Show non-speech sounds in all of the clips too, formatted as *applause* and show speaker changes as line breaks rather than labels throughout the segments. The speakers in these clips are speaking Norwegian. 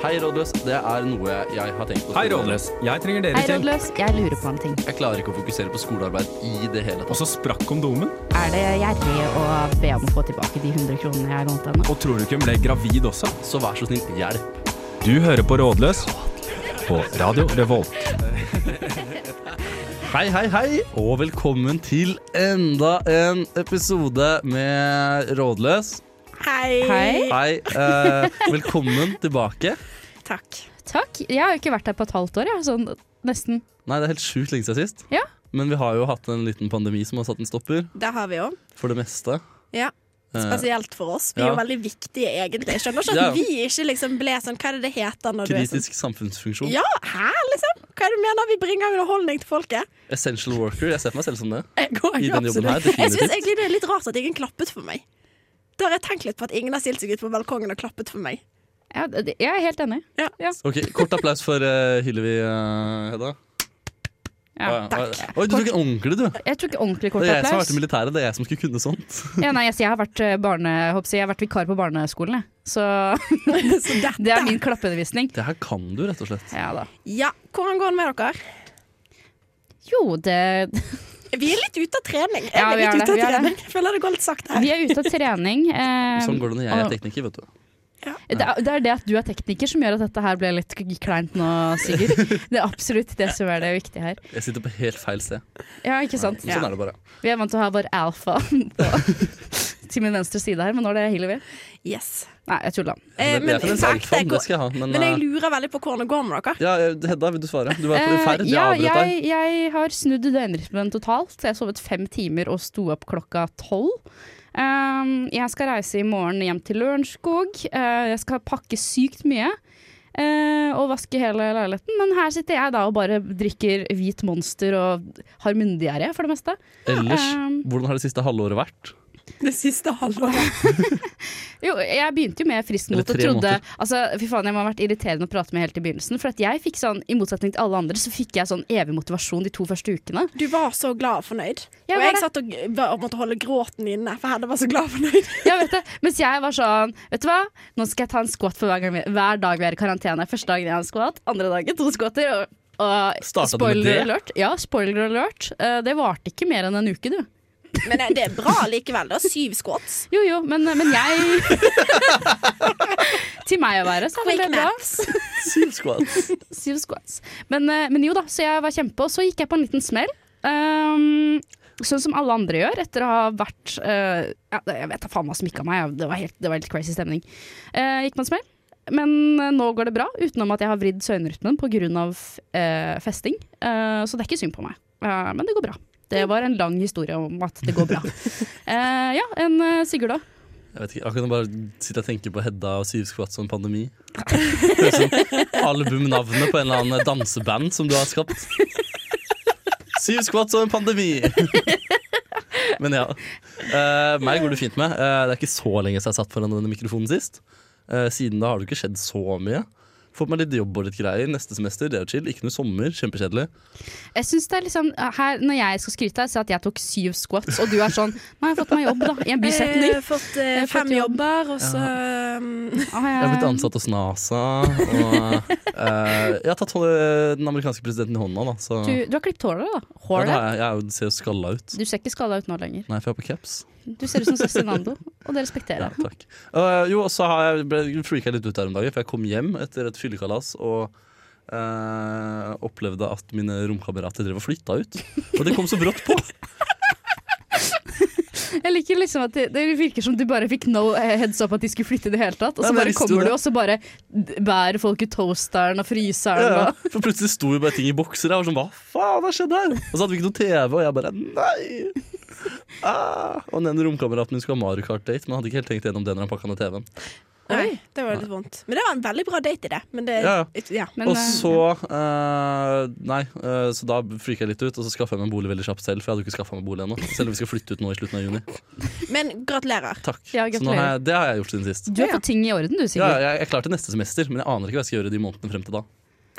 Hei, rådløs. Det er noe jeg har tenkt på.
Hei, Rådløs. Jeg trenger dere
Hei,
til.
rådløs. Jeg lurer på en ting.
Jeg klarer ikke å fokusere på skolearbeid i det hele
Og
tatt.
så sprakk kondomen.
Er det gjerrig å be om å få tilbake de 100 kronene jeg lånte henne?
Og tror du ikke hun ble gravid også?
Så vær så snill, hjelp.
Du hører på Rådløs på Radio Revolt.
Hei, hei, hei, og velkommen til enda en episode med Rådløs.
Hei.
Hei.
Hei, eh, velkommen tilbake.
Takk.
Takk. Jeg har jo ikke vært her på et halvt år, jeg. Sånn nesten.
Nei, det er helt sjukt lenge siden sist.
Ja.
Men vi har jo hatt en liten pandemi som har satt en stopper,
Det har vi òg.
for det meste.
Ja.
Eh,
Spesielt for oss. Vi er
ja.
jo veldig viktige, egentlig. Jeg skjønner ikke
Ja.
at vi ikke liksom ble sånn Hva er det det heter når du er sånn
kritisk samfunnsfunksjon.
Ja, hæ, liksom? Hva er det du mener? Vi bringer underholdning til folket.
Essential worker. Jeg ser på meg selv som det.
Jeg går
I
jo
den jobben
absolutt.
her, definitivt.
Jeg syns egentlig det er litt rart at ingen klappet for meg. Da har jeg tenkt litt på at ingen har stilt seg ut på balkongen og klappet for meg.
Ja, det- jeg er helt enig.
Ja.
Ok, Kort applaus for eh, Hillevi, eh, Hedda.
Ja.
Å, ja. Oi, du tok en ordentlig, du.
Jeg tror ikke ordentlig kort
Det er jeg som har vært
applaus.
i militæret. Det er jeg som skulle kunne sånt.
Ja, nei, altså, jeg har vært eh, barne, hoppsi, jeg har vært vikar på barneskolen, jeg. Så
*laughs*
*laughs*
Så dette
det er min klappeundervisning.
Det her kan du, rett og slett.
Ja da.
Ja, hvordan går det med dere?
Jo, det
Vi er litt ute av trening. Jeg
Ja,
er
vi er
litt
det,
ute av
vi er det.
trening. Jeg føler det går litt sakte her.
*laughs* Vi er ute av trening. eh,
Sånn går det når jeg er
og-
tekniker, vet du.
Det er, det er det at du er tekniker som gjør at dette her ble litt k- kleint nå,
*laughs*
Sigurd. Det er absolutt det som er det viktige her.
Jeg sitter på helt feil sted.
Ja, ikke sant.
Sånn er det bare.
Vi er vant til å ha vår alfa *laughs* på, til min venstre side her, men nå er det Hillevi.
Yes.
Nei, jeg tulla.
Eh,
Altså, Det- det er fremdeles
takk,
alfaen,
jeg
det
går-
skal jeg ha. Men,
Men jeg
eh,
lurer veldig på hvordan det går med
*laughs*
dere.
ja, eh, Hedda, vil du svare? Du var i
Eh,
ferd. Jeg
ja,
avbrøt deg.
jeg, jeg har snudd døgnrytmen totalt. Jeg har sovet fem timer og sto opp klokka tolv. Ehm, jeg skal reise i morgen hjem til Lørenskog. Eh, jeg skal pakke sykt mye. eh, og vaske hele leiligheten. Men her sitter jeg da og bare drikker hvit monster og har munndiaré for det meste.
Ellers,
ehm.
hvordan har det siste halvåret vært?
Det siste halvåret.
Jo, jeg begynte jo med frisk mot
Eller
og
tre
trodde
måneder.
Altså, fy faen, jeg må ha vært irriterende å prate med helt i begynnelsen. For at jeg fikk sånn, i motsetning til alle andre, så fikk jeg sånn evig motivasjon de to første ukene.
Du var så glad og fornøyd.
Ja,
og
var
jeg
det?
satt og g- var- måtte holde gråten inne, for Hedda var så glad og fornøyd.
Jeg vet det. *laughs* Mens jeg var sånn, vet du hva, nå skal jeg ta en squat for hver, gang vi, hver dag vi er i karantene. Første dagen jeg har en squat, andre dagen to squatter. Og, og
Startet du med
spoiler
det?
alert. Ja, spoiler alert. Eh, det varte ikke mer enn en uke, du.
*laughs* Men eh, det er bra likevel. da, Syv squats.
Jo jo, men, men
*laughs*
jeg Til meg å være, så er vel
Quick
det bra.
*laughs* naps.
Syv squats.
Syv squats. Men, eh, men jo da, så jeg var kjempe, og så gikk jeg på en liten smell. Ehm, sånn som alle andre gjør, etter å ha vært eh, ja, Jeg vet da faen hva som gikk av meg, det var helt, det var helt crazy stemning. Eh, gikk på en smell. Men eh, nå går det bra, utenom at jeg har vridd søvnrytmen pga. Uh, festing. Eh, så det er ikke synd på meg. Eh, men det går bra. Det var en lang historie om at det går bra. Eh, ja, en eh, Sigurd da?
Jeg vet ikke, jeg kan bare sitte og tenke på Hedda og syv squats og en pandemi. *laughs* Høres ut som albumnavnet på en eller annen danseband som du har skapt. Syv squats og en pandemi! *laughs* Men ja. Eh, meg går det fint med. Eh, det er ikke så lenge siden jeg satt foran denne mikrofonen sist. Eh, siden da har det ikke skjedd så mye. Fått meg litt jobb og litt greier neste semester. Det er jo chill. Ikke noe sommer. Kjempekjedelig.
Jeg synes det er liksom, her, Når jeg skal skryte, så er det at jeg tok syv squats, og du er sånn Nå har jeg fått meg jobb, da, i en
Jeg
bisetning.
har fått
har
eh,
fått
fem
jobb.
jobber, og så um,
Ah, ja,
Jeg har blitt
ja.
ansatt hos NASA. Og eh, jeg har tatt hånda- den amerikanske presidenten i hånda, da. Så.
Du, du har klippet håret, da.
Ja, det
Håret.
har jeg, jeg er jo- ser jo skalla ut.
Du ser ikke skada ut nå lenger.
Nei, for jeg har på caps.
Du ser ut som Cezinando, og det respekterer
Ja,
jeg.
takk. Øh, jo, og så har jeg ble- freaka jeg litt ut her om dagen, for jeg kom hjem etter et fyllekalas og eh, opplevde at mine romkamerater drev og flytta ut. Og det kom så brått *laughs* på!
Jeg liker liksom at det, det virker som du bare fikk no eh, heads up at de skulle flytte i det hele tatt. Og
Nei,
så
men
bare
jeg visste jo
kommer
det.
du, og så bare d- bærer folk ut toasteren og fryseren.
Ja, ja.
Og.
For plutselig sto jo bare ting i bokser. Jeg var sånn, hva faen har skjedd her? Og så hadde vi ikke noe TV, og jeg bare nei! Ah. Og den ene romkameraten min skulle ha Mario Kart-date, men hadde ikke helt tenkt gjennom det når han pakka ned TV-en.
Nei, det var litt vondt. Men det var en veldig bra date i det. Men det
Ja,
ja.
Men,
og
eh,
så eh, Nei, eh, så da frika jeg litt ut, og så skaffa jeg meg en bolig veldig kjapt selv. For jeg hadde jo ikke skaffa meg bolig ennå, selv om vi skal flytte ut nå i slutten av juni.
Men gratulerer.
Takk.
Ja,
så nå har jeg, det har jeg gjort siden sist.
eh, Du har fått ting i orden, du,
Ja,
Sigurd.
jeg, jeg er klar til neste semester, men jeg aner ikke hva jeg skal gjøre de månedene frem til da.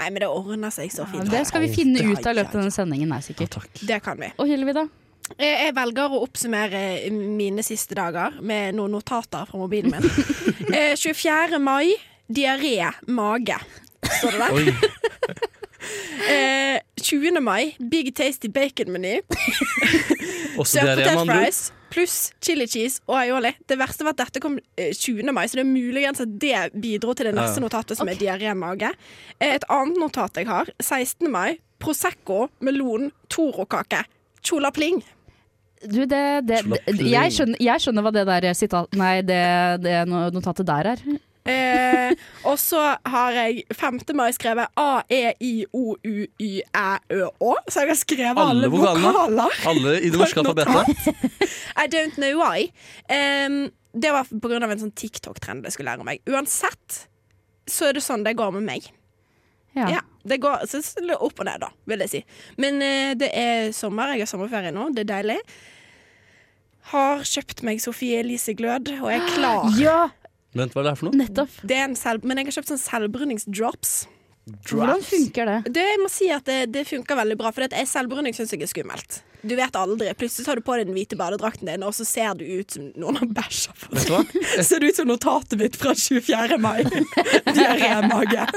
Nei, men det ordner seg så fint.
Det skal vi finne
Ja,
ut av i løpet
ja,
av
ja.
denne sendingen her,
Ja,
sikkert.
takk.
Det kan vi.
Og Hillevi, da?
Jeg jeg velger å oppsummere
*laughs*
mine siste dager med noen notater fra mobilen min. Eh, 24. Eh, mai diaré mage. Står det der.
Oi,
Eh, 20. mai, Big Tasty Bacon-meny. *laughs*
også
Sør
diaré, med
potet
andre ord.
fries pluss chili cheese og aioli. Det verste var at dette kom eh, 20. mai, så det er muligens at det bidro til det
ja.
neste notatet, som er diaré-mage. Eh, Et annet notat jeg har, 16. mai, Prosecco, melon, Toro-kake. Tjolapling.
Du, det, det,
Slapp
det
til.
jeg, skjønner, jeg skjønner hva det der sitat... Nei, det, det no- notatet der er.
Eh, og så har jeg 5. mai skrevet A-E-I-O-U-Y-æ-ø-å. Så jeg har skrevet alle,
Alle vokalene.
vokaler.
Alle i det norske
Notat.
alfabetet.
I don't know why. Ehm, det var på grunn av en sånn TikTok-trend jeg skulle lære meg. Uansett så er det sånn det går med meg.
Ja.
Ja. det går så så litt opp og ned, da, vil jeg si. Men eh, det er sommer, jeg har sommerferie nå, det er deilig. Har kjøpt meg Sofie Elise Glød, og er klar.
Ja,
Vent, hva er det her for noe?
nettopp.
Det er en selv, men jeg har kjøpt sånn selvbruningsdrops.
Hvordan funker det?
Det, jeg må si at det, det funker veldig bra, for jeg selvbruning syns jeg er skummelt. Du vet aldri. Plutselig tar du på deg den hvite badedrakten din, og så ser du ut som noen har bæsja på
*laughs* Vet du hva?
Ser ut som notatet mitt fra 24. mai. Diaré-mage.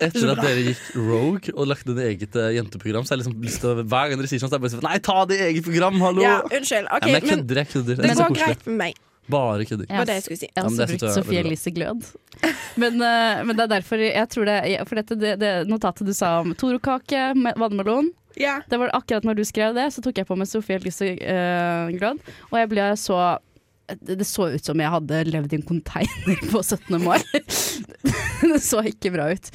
Etter at dere gikk rogue og lagde det eget eh, jenteprogram, så har jeg liksom lyst til å Hver gang dere sier sånn, så er jeg bare sånn Nei, ta det i eget program, hallo!
Ja, unnskyld.
Nei,
Ok,
men jeg
men
kødder, jeg kødder. Det
det
er så
går
koselig.
greit med meg.
Bare kødder.
var det jeg skulle si.
Jeg har
Ja, men
også
det
brukt
synes jeg er
Sofie
veldig bra.
Elise Glød. *laughs* Men, eh, men det er derfor jeg tror det For dette, det, det notatet du sa om Toro-kake, me- vannmelon
Ja.
Det var akkurat når du skrev det, så tok jeg på meg Sofie Elise eh, Glød. Og jeg ble så det det så ut som jeg hadde levd i en container på 17. mai. *laughs* det så ikke bra ut.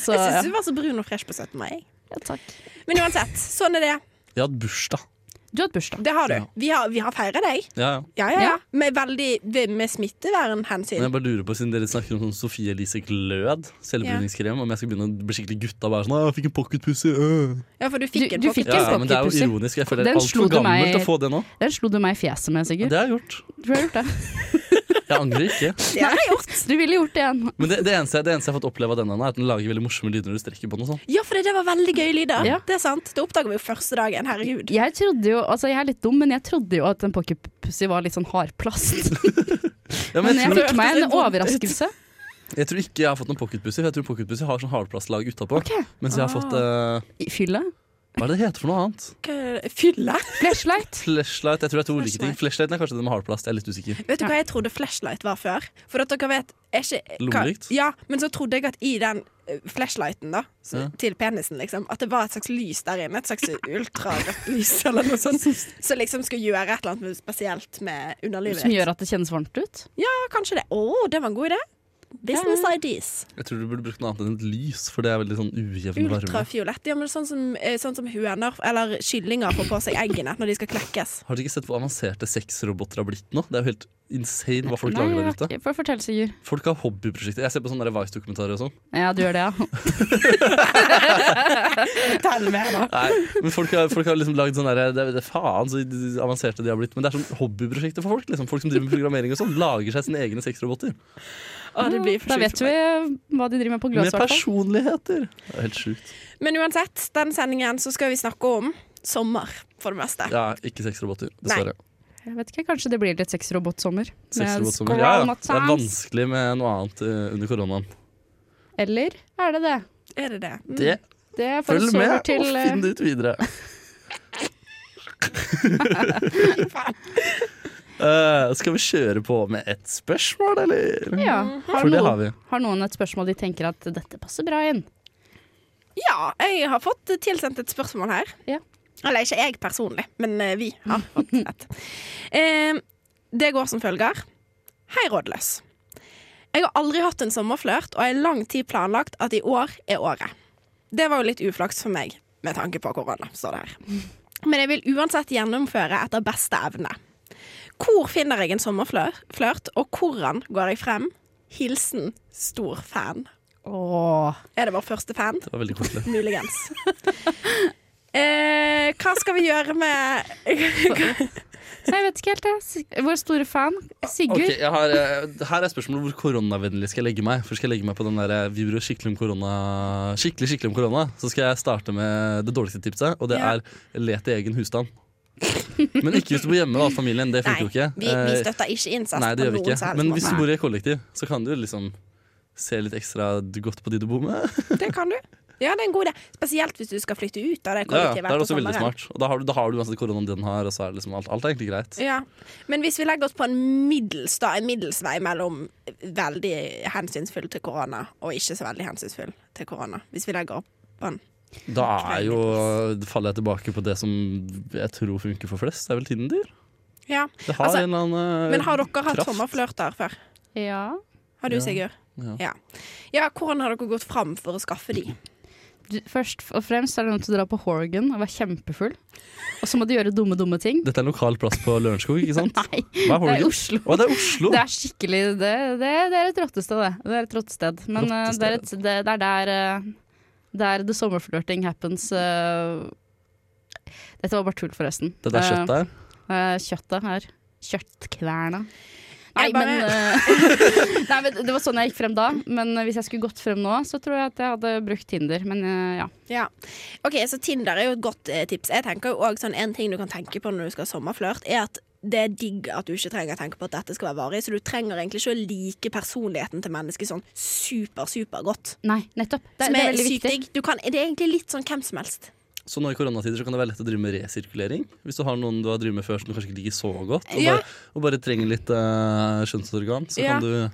Så
Jeg
ja.
syns du var så brun og fresh på 17. mai. jeg.
ja, takk.
Men uansett, sånn er det.
Jeg hadde bursdag.
Du har hatt bursdag.
Det har du.
Ja.
Vi har, vi har feira deg.
Ja, ja.
Ja, ja, ja.
Ja.
Med, veldig- med
Men
smittevernhensyn.
jeg bare lurer på, siden dere snakker om sånn Sofie Elise Glød, selvbruningskrem, om jeg skal begynne å bli skikkelig gutta og bare sånn «Å, 'Jeg fikk en pocketpussy', øh.
Ja, for du fikk
Du-
en
du
pocket.
fikk
Ja,
en
ja, men det er jo
pocketpussy.
ironisk. Jeg føler det
Den
er
slo
altfor
du meg-
gammelt å få det nå.
Den slo du meg i fjeset med,
Ja,
Sigurd.
det har jeg gjort.
Du har gjort det.
Jeg angrer ikke.
Det har jeg gjort.
Du ville gjort det igjen.
Men det, det, eneste, det eneste jeg har fått oppleve av denne, er at den lager veldig morsomme lyder når du strekker på den. og sånn.
Ja, for det, det var veldig gøye lyder.
Ja.
Det er sant. Det oppdager vi jo første dagen. Herregud.
Jeg trodde jo, altså jeg er litt dum, men jeg trodde jo at en pocketpussy var litt sånn hardplast.
Ja, men
Men
jeg,
jeg
tror,
fikk meg
det
en
hørtes litt vondt ut.
overraskelse.
jeg tror ikke jeg har fått noen pocketpussy, for jeg tror pocketpussy har sånn hardplastlag utapå.
Ok. Ah.
Mens jeg har fått eh,
I Fylla.
Hva er det det heter for noe annet?
Hva- eh, Fylle?
Flashlight.
Flashlight. Jeg tror det er to ulike ting.
Flashlight.
Flashlighten er kanskje den med hardplast. Jeg er litt usikker.
Vet du hva jeg trodde flashlight var før? For at dere vet er ikke, hva-
Lommelykt?
Ja, men så trodde jeg at i den eh, flashlighten da så,
Ja.
til penisen, liksom, at det var et slags lys der inne. Et slags *laughs* ultrarødt lys eller noe sånt. Som liksom skulle gjøre et eller annet med- spesielt med underlivet
Som
ditt.
gjør at det kjennes varmt ut.
Ja, kanskje det. Å, det var en god idé. Business ideas.
Jeg tror du burde brukt noe annet enn et lys, for det er veldig sånn ujevn varme.
Ultrafiolett. Ja, men sånn som, eh, sånn som høner eller kyllinger får på seg eggene når de skal *laughs* klekkes.
Har dere ikke sett hvor avanserte sexroboter har blitt nå? Det er jo helt insane hva folk
Nei,
lager
jeg
der
har
ute.
ikke- Får fortelle, Sigurd.
Folk har hobbyprosjekter. Jeg ser på sånne der Vice-dokumentarer og sånn.
Ja, du gjør
*laughs*
det, ja.
Fortell mer, da.
Nei, men folk har, folk har liksom lagd sånn derre det, det, Faen, så avanserte de har blitt. Men det er sånn hobbyprosjekter for folk. Liksom. Folk som driver med programmering og sånn, lager seg sine egne sexroboter.
Å, det blir for
Da
sjukt
vet
for
vi
meg.
hva de driver med på Gløs,
Med
i hvert fall.
personligheter. Det er helt sjukt.
Men uansett, den sendingen så skal vi snakke om sommer, for det meste.
Ja, ikke sexroboter, dessverre.
Jeg vet ikke, Kanskje det blir litt sexrobotsommer. Med
Sexrobotsommer. Ja, ja. Det er
coronatimes.
vanskelig med noe annet eh, under koronaen.
Eller er det det?
Er det det? Mm.
Det
Det får
Følg
oss over
med
til
og
eh,
finn det ut videre.
*laughs*
*laughs* Eh, skal vi kjøre på med et spørsmål, eller?
Ja. Har
For det har
noen,
vi.
har noen et spørsmål de tenker at dette passer bra inn?
Ja, jeg har fått tilsendt et spørsmål her.
Ja.
Eller ikke jeg personlig, men eh, vi har fått et. Eh, det går som følger. Hei, rådløs. Jeg har aldri hatt en sommerflørt, og har i lang tid planlagt at i år er året. Det var jo litt uflaks for meg, med tanke på korona, står det her. Men jeg vil uansett gjennomføre etter beste evne. Hvor finner jeg en sommerflørt, og hvordan går jeg frem? Hilsen stor fan.
Åh.
Er det vår første fan?
Det var veldig
*laughs*
koselig.
Muligens. Eh, hva skal vi gjøre med
Nei, jeg vet ikke helt, jeg. Sig- Vår store fan Sigurd.
Ok, jeg har, eh, her er spørsmålet hvor koronavennlig skal jeg legge meg. For skal jeg legge meg på den der eh, Vi bryr oss skikkelig om korona Skikkelig, skikkelig om korona Så skal jeg starte med det dårligste tipset, og det
Ja.
er let i egen husstand. *laughs* Men ikke hvis du bor hjemme da, familien. Det
Nei,
funker jo ikke.
vi, vi
Eh,
støtter ikke incest.
Nei, det
på
gjør vi
noen
ikke.
som helst
Men
måte.
hvis du bor i et kollektiv, så kan du liksom se litt ekstra godt på de du bor med.
Det kan du. Ja, det er en god idé. Spesielt hvis du skal flytte ut av
Ja, ja,
det
det
kollektivet.
er
etter
også veldig
sommeren.
smart. Og da har du, da har du uansett koronaen den har, og så er det liksom alt, alt er egentlig greit.
Ja. Men hvis vi legger oss på en middels, da, en middelsvei mellom veldig hensynsfull til korona og ikke så veldig hensynsfull til korona Hvis vi legger opp på den.
Da er jo, faller jeg tilbake på det som jeg tror funker for flest. Det er vel Tinder.
Ja.
Det har
Altså,
en eller annen eh,
Men har dere hatt
kraft.
sommerflørter før?
Ja.
Har du,
Ja.
Sigurd?
Ja.
Ja. ja. Hvordan har dere gått fram for å skaffe de?
Du, først og fremst er det noe til å dra på Horgan og være kjempefull. Og så må du gjøre dumme, dumme ting.
Dette er en lokal plass på Lørenskog, ikke
*laughs*
sant?
*laughs*
Oh.
Nei,
Hva
det er
Horgen?
Oslo.
Å, det er Oslo!
Det er skikkelig Det, det, det er et rottested, det. Det er et rottested. Men eh, det, er et, det, det er der eh, der the sommerflørting happens. eh. dette var bare tull, forresten.
Det der kjøttet her.
Eh, eh, kjøttet her. Kjøttkverna. Nei,
Jeg bare-
men, eh, *laughs* nei, men det var sånn jeg gikk frem da. Men eh, hvis jeg skulle gått frem nå, så tror jeg at jeg hadde brukt Tinder. Men eh, ja.
Ja. Ok, så Tinder er jo et godt eh, tips. Jeg tenker jo også sånn En ting du kan tenke på når du skal ha sommerflørt, er at det er digg at du ikke trenger å tenke på at dette skal være varig. Så du trenger egentlig ikke å like personligheten til mennesket sånn super, super godt.
Nei, nettopp. Det,
Som
det
er,
er veldig
sykt
viktig.
digg. Du kan, det er egentlig litt sånn hvem som helst.
Så nå i koronatider så kan det være lett å drive med resirkulering. Hvis du har noen du har drevet med før som du kanskje ikke liker så godt, og,
Ja.
bare, og bare trenger litt eh, skjønnsorgan, så
Ja.
kan du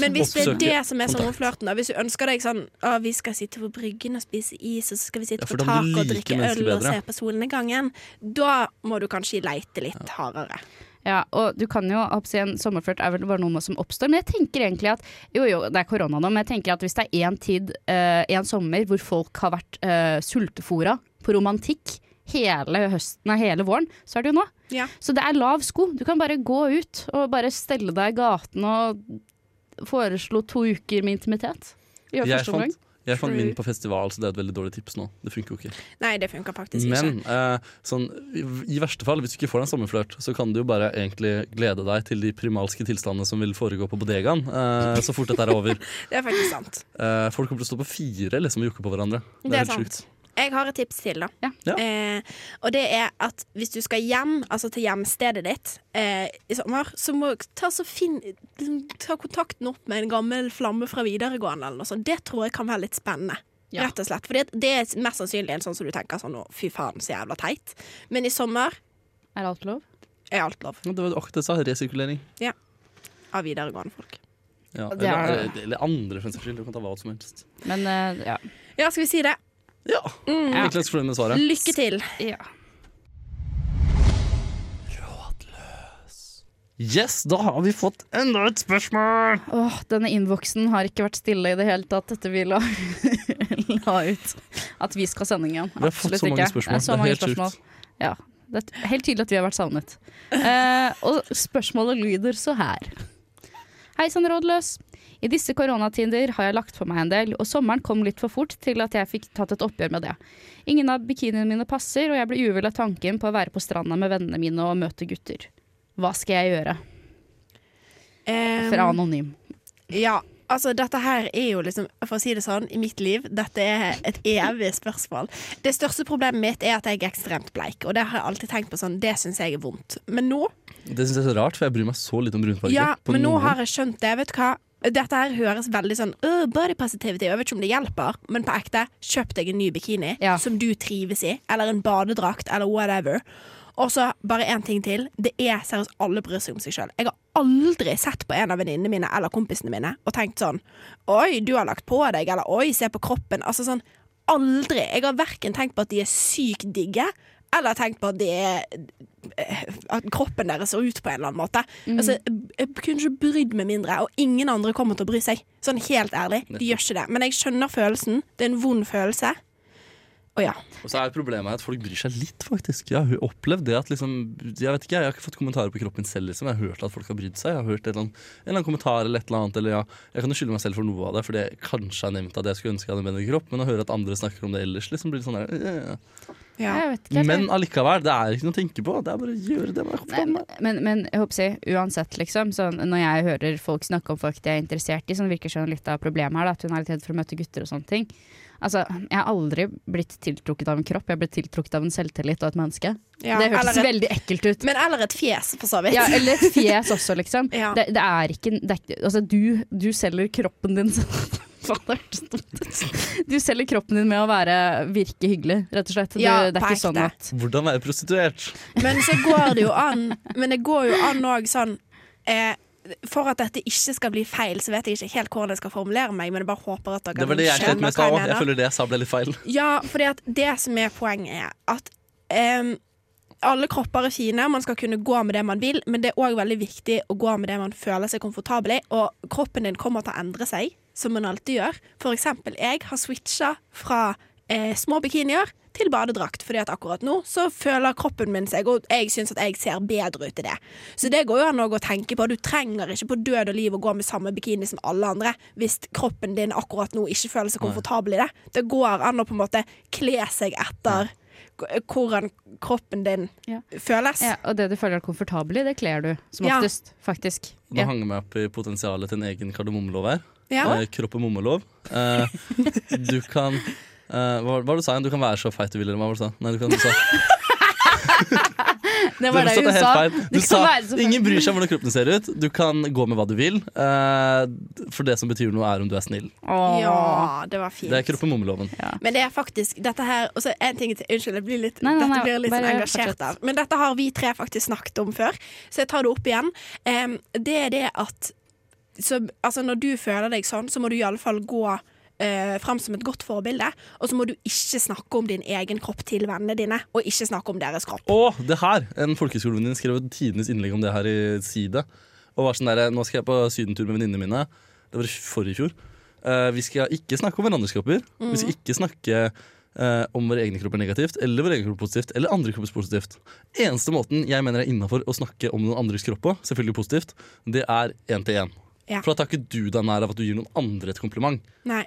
Men hvis det er
Oppsøke
det som er
kontakt.
sommerflørten, da. Hvis du ønsker deg sånn Å, vi skal sitte på bryggen og spise is, og så skal vi sitte
Ja, for
på
da må
taket
du
og
like
drikke
mennesker
øl og
bedre.
se på solnedgangen, da må du kanskje leite litt hardere.
Ja, og du kan jo opp- si en sommerflørt er vel bare noe som oppstår, men jeg tenker egentlig at jo jo, det er korona nå, men jeg tenker at hvis det er én tid, eh, en sommer, hvor folk har vært eh, sultefora på romantikk hele høsten, nei, hele våren, så er det jo nå.
Ja.
Så det er lav sko. Du kan bare gå ut og bare stelle deg i gaten og foreslå to uker med intimitet. I
Jeg
første omgang.
fant, jeg fant
True.
min på festival, så det er et veldig dårlig tips nå. Det funker jo ikke.
Nei, det funker faktisk ikke.
Men eh, sånn, i, i verste fall, hvis du ikke får deg en sommerflørt, så kan du jo bare egentlig glede deg til de primalske tilstandene som vil foregå på bodegaen eh, så fort dette er over.
Det er faktisk sant.
Eh, folk kommer til å stå på fire liksom, og jokke på hverandre. Det er,
Det er
helt
sant.
sjukt.
Jeg har et tips til, da.
Ja.
Ja.
Eh, og det er at hvis du skal hjem, altså til hjemstedet ditt eh, i sommer, så må ta, så finn, ta kontakten opp med en gammel flamme fra videregående eller noe sånt. Det tror jeg kan være litt spennende.
Ja.
Rett og slett. For det er mest sannsynlig en sånn som du tenker sånn å, fy faen, så jævla teit. Men i sommer
Er alt lov?
er alt lov
Ja, Det var akkurat det jeg sa. Resirkulering.
av videregående folk.
Ja,
Det er-
eller, eller andre, for en saks skyld. Du kan ta hva som helst.
Men eh, ja.
Ja, skal vi si det?
Ja. Mm.
Ja.
Egentlig fornøyd med svaret.
Lykke til.
ja.
Yes, da har vi fått enda et spørsmål!
Åh, denne innboksen har ikke vært stille i det hele tatt etter vi la, *laughs* la ut at vi skal ha sending igjen.
Vi har fått
Absolutt
så mange
ikke.
spørsmål.
Det er så
Det er
mange
helt sjukt.
spørsmål. Ja, det er helt tydelig at vi har vært savnet. Eh, og spørsmålet lyder så her. Hei sann, rådløs. I disse koronatider har jeg lagt på meg en del, og sommeren kom litt for fort til at jeg fikk tatt et oppgjør med det. Ingen av bikiniene mine passer, og jeg blir uvel av tanken på å være på stranda med vennene mine og møte gutter. Hva skal jeg gjøre?
Eh,
Fra anonym.
Ja, altså dette her er jo liksom, for å si det sånn, i mitt liv, dette er et evig spørsmål. Det største problemet mitt er at jeg er ekstremt bleik, og det har jeg alltid tenkt på sånn, det syns jeg er vondt. Men nå,
Det syns jeg er så rart, for jeg bryr meg så lite om brunfarge.
ja,
på
men nå
noen.
har jeg skjønt det, vet du hva. Dette her høres veldig sånn øh, body positivity, jeg vet ikke om det hjelper, men på ekte, kjøp deg en ny bikini
Ja.
som du trives i, eller en badedrakt, eller whatever. Og så bare én ting til. Det er seriøst alle bryr seg om seg sjøl. Jeg har aldri sett på en av venninnene mine eller kompisene mine og tenkt sånn Oi, du har lagt på deg, eller oi, se på kroppen. Altså sånn Aldri. Jeg har verken tenkt på at de er sykt digge, eller tenkt på at de er eh, At kroppen deres ser ut på en eller annen måte.
Mm.
Altså, jeg, jeg kunne ikke brydd meg mindre, og ingen andre kommer til å bry seg. Sånn helt ærlig. De gjør ikke det. Men jeg skjønner følelsen. Det er en vond følelse. Å ja.
Og så er problemet her at folk bryr seg litt, faktisk. Jeg har opplevd det at liksom Jeg vet ikke, jeg har ikke fått kommentarer på kroppen min selv, liksom. Jeg har hørt at folk har brydd seg. Jeg har hørt et eller annet, en eller annen kommentar eller et eller annet. Eller ja, jeg kan jo skylde meg selv for noe av det, fordi jeg kanskje har nevnt at jeg skulle ønske jeg hadde en bedre kropp, men å høre at andre snakker om det ellers, liksom blir det sånn der eh.
ja.
Jeg vet ikke helt, jeg.
Men allikevel, det er ikke noe å tenke på. Det er bare å gjøre det man er
Nei,
komfortabel med.
men, men jeg håper å si, uansett, liksom. Så når jeg hører folk snakke om folk de er interessert i, som virker som litt av problemet her, da, at hun er litt redd for å møte gutter og sånne ting. Altså, jeg har aldri blitt tiltrukket av en kropp, jeg har blitt tiltrukket av en selvtillit og et menneske.
Ja,
det
eller
hørtes
et-
veldig ekkelt
*laughs*
ut.
Men eller et fjes, for så vidt.
Ja, eller et fjes også, liksom.
Ja.
Det, det er ikke det er, ikke- Altså, du, du selger kroppen din *laughs* som Faen, det hørtes dumt ut. Du selger kroppen din med å være, virke hyggelig, rett og slett. Du,
Ja,
det er
på
ikke sånn
ekte.
at
Hvordan være prostituert?
*laughs* Men så går det jo an Men det går jo an òg sånn eh, For at dette ikke skal bli feil, så vet jeg ikke helt hvordan jeg skal formulere meg, men jeg bare håper at dere
Det var det jeg slet med
skjønner
i stad
hva
òg. Jeg
mener.
føler det jeg sa ble litt feil.
Ja, fordi at det som er poenget, er at em, alle kropper er fine, man skal kunne gå med det man vil, men det er òg veldig viktig å gå med det man føler seg komfortabel i. Og kroppen din kommer til å endre seg, som man alltid gjør. For eksempel, jeg har switcha fra eh, små bikinier til badedrakt, fordi at akkurat nå så føler kroppen min seg, og jeg syns at jeg ser bedre ut i det. Så det går jo an også å tenke på. Du trenger ikke på død og liv å gå med samme bikini som alle andre hvis kroppen din akkurat nå ikke føler seg komfortabel i det. Det går an å på en måte kle seg etter k- hvordan kroppen din
Ja.
føles.
ja, Og det du føler deg komfortabel i, det kler du som
Ja.
oftest, faktisk.
Nå
Ja.
hang jeg meg opp i potensialet til en egen kardemommelov her.
Ja.
Eh, kropp og mommelov. Eh, du kan eh, Hva hva var det du sa igjen? Du kan være så feit du vil, eller hva var det du sa? Nei, du kan du sa
Det var det
Du
hun
helt
sa.
feil. Du
Det kan
sa
være så
ingen bryr seg om hvordan kroppen ser ut. Du kan gå med hva du vil. eh, for det som betyr noe, er om du er snill.
Åh.
Ja,
Ah.
det var fint.
Det er kropp og mommeloven.
Men det er faktisk dette her Og så en ting til. Unnskyld, jeg blir litt,
Nei, nei,
dette
nei,
blir jeg litt
bare
sånn engasjert
fortsett.
av. Men dette har vi tre faktisk snakket om før, så jeg tar det opp igjen. Em, det er det at så, altså Når du føler deg sånn, så må du iallfall gå eh, fram som et godt forbilde. Og så må du ikke snakke om din egen kropp til vennene dine, og ikke snakke om deres kropp.
Og det her! En folkehøyskolevenninne skrev et tidenes innlegg om det her i Side. Og var sånn der, Nå skal jeg på sydentur med venninnene mine. Det var i forrige fjor. Eh, vi skal ikke snakke om hverandres kropper. Vi skal ikke snakke eh, om våre egne kropper negativt, eller våre egne kropper positivt, eller andre kropper positivt. Eneste måten jeg mener er innafor å snakke om noen andres kropp på, selvfølgelig positivt, det er én til én.
Ja.
For da tar ikke du deg nær av at du gir noen andre et kompliment.
Nei.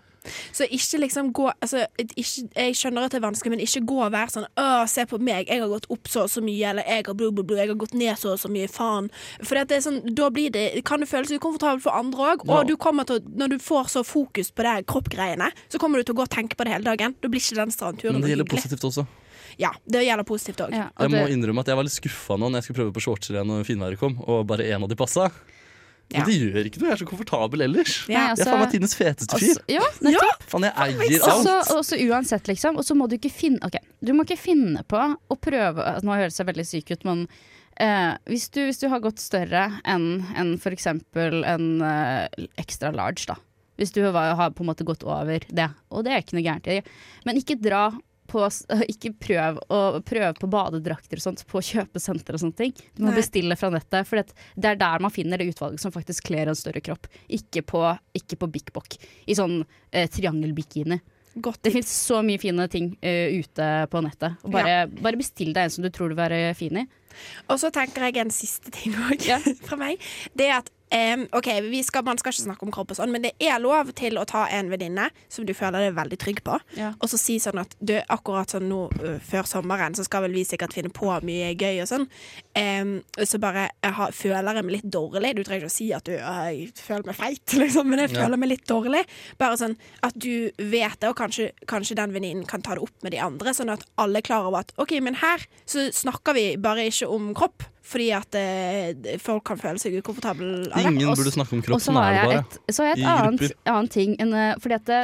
Så ikke liksom gå altså, ikke, Jeg skjønner at det er vanskelig, men ikke gå og være sånn Å, se på meg, jeg har gått opp så og så mye, eller jeg har blu, blu, blu, jeg har gått ned så og så mye, faen. For det er sånn, da blir det, kan det føles ukomfortabelt for andre òg,
Ja.
og du kommer til å Når du får så fokus på det her kroppgreiene, så kommer du til å gå og tenke på det hele dagen. Da blir ikke den strandturen
Men det gjelder
hyggelig.
positivt også.
Ja, det gjelder positivt òg.
Ja,
Jeg
og
må
det,
innrømme at jeg var litt skuffa nå når jeg skulle prøve på shortser igjen når finværet kom, og bare én av de passa. Men
Ja.
det gjør ikke noe, jeg er så komfortabel ellers.
Ja.
Nei,
jeg er faen meg tidenes feteste fyr.
altså, ja, nettopp.
Faen, jeg eier
Og
alt.
så- og så uansett, liksom. Og så må du ikke finne Ok, du må ikke finne på å prøve altså, Nå høres jeg veldig syk ut, men eh, hvis, du, hvis du har gått større enn en f.eks. en eh, extra large, da. Hvis du har, har på en måte gått over det, og det er ikke noe gærent i. Men ikke dra på s- *laughs* Ikke prøv å prøve på badedrakter og sånt på kjøpesenter og sånne ting. Du må
Nei.
bestille fra nettet, for det, det er der man finner det utvalget som faktisk kler en større kropp. Ikke på, ikke på Bik Bok. I sånn eh, triangelbikini.
Godt
Det fins så mye fine ting eh, ute på nettet. Og bare, bare bestill deg en som du tror du vil være fin i.
Og så tenker jeg en siste ting òg
Ja.
*laughs* fra meg. Det er at em, OK, vi skal, man skal ikke snakke om kropp og sånn, men det er lov til å ta en venninne som du føler deg veldig trygg på,
Ja.
og så si sånn at du, akkurat sånn nå ø, før sommeren, så skal vel vi sikkert finne på mye gøy og sånn. Em, og så bare jeg har, føler jeg meg litt dårlig. Du trenger ikke å si at du «Å, jeg føler meg feit, *laughs* liksom, men jeg
Ja.
føler meg litt dårlig. Bare sånn at du vet det, og kanskje, kanskje den venninnen kan ta det opp med de andre, sånn at alle er klar over at OK, men her så snakker vi bare ikke om kropp, fordi at eh, folk kan føle seg ukomfortable av det.
Ingen
Og så-
burde snakke om
Og
kropp,
så
sånn
har
er det
jeg
bare.
et, så har jeg
I
et annet, annet ting enn eh, Fordi at det,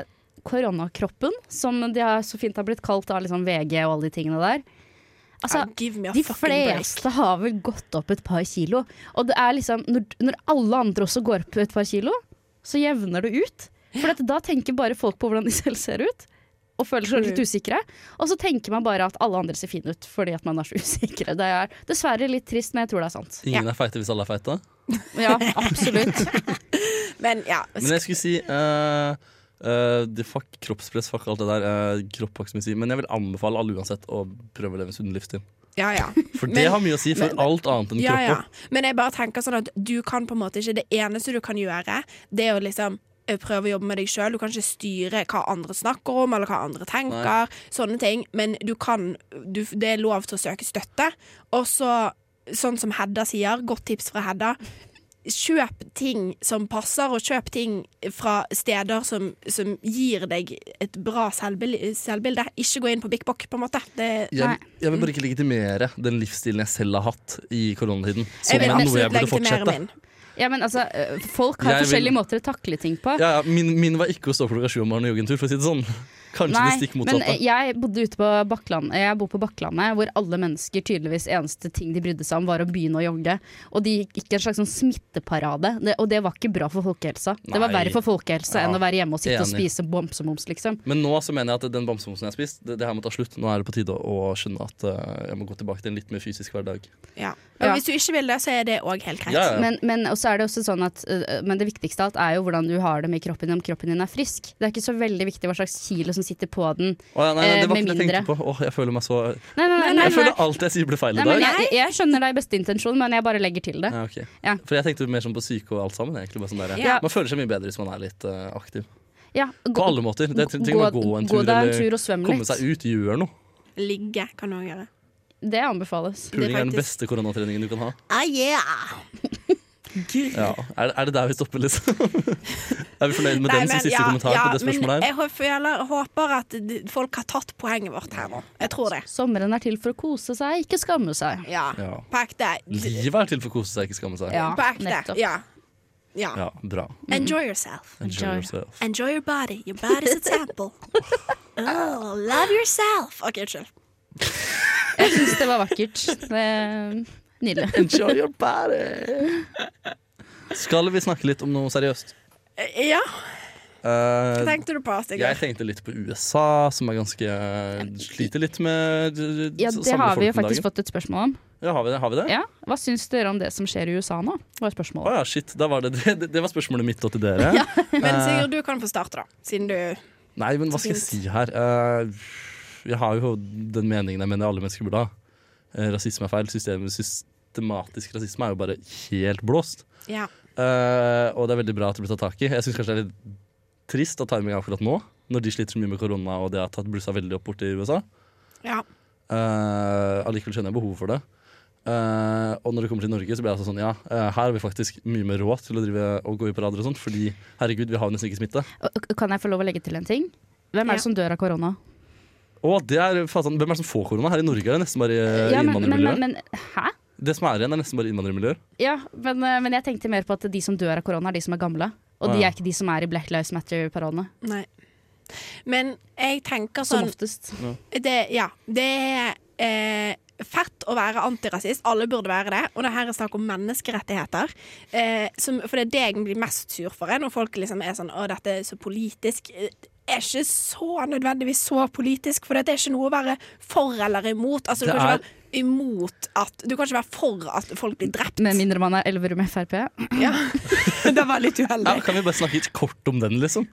koronakroppen, som de har så fint har blitt kalt av liksom VG og alle de tingene der Altså,
Ja, give me a
de
fucking break.
fleste har vel gått opp et par kilo. Og det er liksom Når, når alle andre også går opp et par kilo, så jevner det ut. For at da tenker bare folk på hvordan de *laughs* selv ser ut. Og føler seg litt
True.
usikre. Og så tenker man bare at alle andre ser fine ut fordi at man er så *laughs* usikre. Det er dessverre litt trist, men jeg tror det er sant.
Ingen er feite hvis alle er feite.
Ja, absolutt.
Men ja.
Men jeg skulle si eh, eh, det- Fuck kroppspress, fuck alt det der. eh, kropp har ikke så mye å si. Men jeg vil anbefale alle uansett å prøve å leve en sunn livsstil.
ja, ja.
For det
Men-
har mye å si for alt annet enn
Ja, ja.
kroppen.
Men jeg bare tenker sånn at du kan på en måte ikke Det eneste du kan gjøre, det er å liksom eh, prøve å jobbe med deg sjøl. Du kan ikke styre hva andre snakker om, eller hva andre tenker. Sånne ting. Men du kan du, Det er lov til å søke støtte. Og så, sånn som Hedda sier, godt tips fra Hedda. Kjøp ting som passer, og kjøp ting fra steder som, som gir deg et bra selvbil selvbilde. Ikke gå inn på Bik Bok, på en måte. Det,
Nei.
Jeg, jeg vil bare ikke legitimere den livsstilen jeg selv har hatt i koronatiden.
jeg
Som
vil
noe
nesten
jeg
ikke
burde
legitimere
fortsette.
min.
Ja, men altså, øh, folk har
Jeg vil-
forskjellige måter å takle ting på.
Ja, ja, min, min var ikke å stå klokka sju om morgenen og jogge en tur, for å si det sånn. Kanskje det stikk
men eh,
motsatte.
jeg bodde ute på Bakkland, jeg bor på Bakklandet, hvor alle mennesker tydeligvis eneste ting de brydde seg om, var å begynne å jogge. Og de gikk en slags sånn smitteparade, det, og det var ikke bra for folkehelsa. Det var
Nei.
verre for folkehelsa
Ja,
enn å være hjemme og sitte og
enig.
spise bomsemoms, liksom.
Men nå så mener jeg at den bamsemosen jeg har spist, det, det her må ta slutt. Nå er det på tide å, å skjønne at eh, jeg må gå tilbake til en litt mer fysisk hverdag.
Ja. Og
Ja.
Hvis du ikke vil det, så er det òg helt greit.
Ja, ja.
Men, men, og så er det også sånn at, øh, men det viktigste av alt er jo hvordan du har det med kroppen din, om kroppen din er frisk. Det er ikke så veldig viktig hva slags kilo som sitter på den.
Å, ja, nei, nei,
Eh,
det var
med
ikke det jeg tenkte
mindre.
på. Åh, jeg føler meg så
Nei, nei, nei. nei,
Jeg
nei,
føler alt jeg sier ble feil
nei
i
men
dag.
jeg, jeg skjønner deg i beste intensjon, men jeg bare legger til det.
Ja, ok.
Ja.
For jeg tenkte mer sånn på syke og alt sammen. Egentlig, bare sånn der.
Ja.
Man føler seg mye bedre hvis man er litt eh, aktiv.
Ja,
På
gå,
alle måter. Det trenger
gå,
ikke å gå en tur,
deg en
eller
tur og svøm
komme
litt.
seg ut, gjør noe.
Ligge kan du òg gjøre.
Det anbefales.
Det er
Puling er den
faktisk-
beste koronatreningen du kan ha.
Ah, yeah.
Ja. Er, er det der vi stopper, liksom? *laughs* er vi fornøyd med
Nei,
den som
men-
siste
ja,
kommentar
ja,
på det
men
spørsmålet her?
Jeg hå- føler, håper at d- folk har tatt poenget vårt her nå. Jeg tror det.
Sommeren er til for å kose seg, ikke skamme seg.
Ja.
Ja.
På ekte. D-
Livet er til for å kose seg, ikke skamme seg.
Ja.
På ekte.
nettopp.
Ja. ja.
Ja, bra.
Enjoy yourself.
Enjoy
Enjoy. *laughs*
yourself.
Enjoy your body. Your body's a
*laughs*
temple. Oh, love yourself. OK, unnskyld.
Jeg syns det var vakkert. Det er Nydelig.
Enjoy your body! Skal vi snakke litt om noe seriøst?
Eh, Ja,
Eh,
hva tenkte du på,
jeg
Sigurd?
tenkte litt på USA, som er ganske eh, Sliter litt med eh,
Ja, det
samle
har vi jo
folk om dagen.
faktisk fått et spørsmål om.
Ja, har vi det? Har vi det?
Ja, Hva syns dere om det som skjer i USA nå? Var spørsmålet.
Å ja, shit. Da var det, det, det var spørsmålet mitt og til
*laughs*
dere.
Men
Eh.
Sigurd, du kan få starte, da. Siden du
Nei, men hva skal jeg si her? Eh, jeg har jo den meningen jeg mener alle mennesker burde ha. Eh, rasisme er feil. Systemet, systematisk rasisme er jo bare helt blåst.
Ja.
Eh, og det er veldig bra at det blir tatt tak i. Jeg syns kanskje det er litt trist at timingen er akkurat nå, når de sliter så mye med korona og det har tatt blussa veldig opp borti USA.
ja.
Eh, Allikevel skjønner jeg behovet for det. Eh, og når det kommer til Norge, så blir jeg altså sånn ja, eh, her har vi faktisk mye mer råd til å drive og gå i parader og sånt, fordi herregud, vi har jo nesten ikke smitte.
Og- og Kan jeg få lov å legge til en ting? Hvem er
Ja.
det som dør av korona?
Å, det er, faen, hvem er det som får korona? Her i Norge er det nesten bare eh,
Ja, men, men, men,
innvandrermiljøer.
men Hæ?
Det som er igjen, er nesten bare innvandrermiljøer.
Ja, men, eh, men jeg tenkte mer på at de som dør av korona, er de som er gamle. Og
Å,
de
ja.
er ikke de som er i Black Lives Matter-paradene.
Nei. Men jeg tenker
Som
sånn
oftest.
det, Ja. Det er eh, fett å være antirasist. Alle burde være det. Og det her er snakk om menneskerettigheter. Eh, som, for det er det jeg blir mest sur for, er når folk liksom er sånn Å, dette er så politisk. Eh, Det er ikke så nødvendigvis så politisk, for det er ikke noe å være for eller imot. Altså, du
Det
kan
er-
ikke være imot at Du kan ikke være for at folk blir drept.
Med mindre man er Elverum Frp.
Ja. *laughs* det var litt
Ja,
uheldig.
kan vi bare snakke litt kort om den, liksom?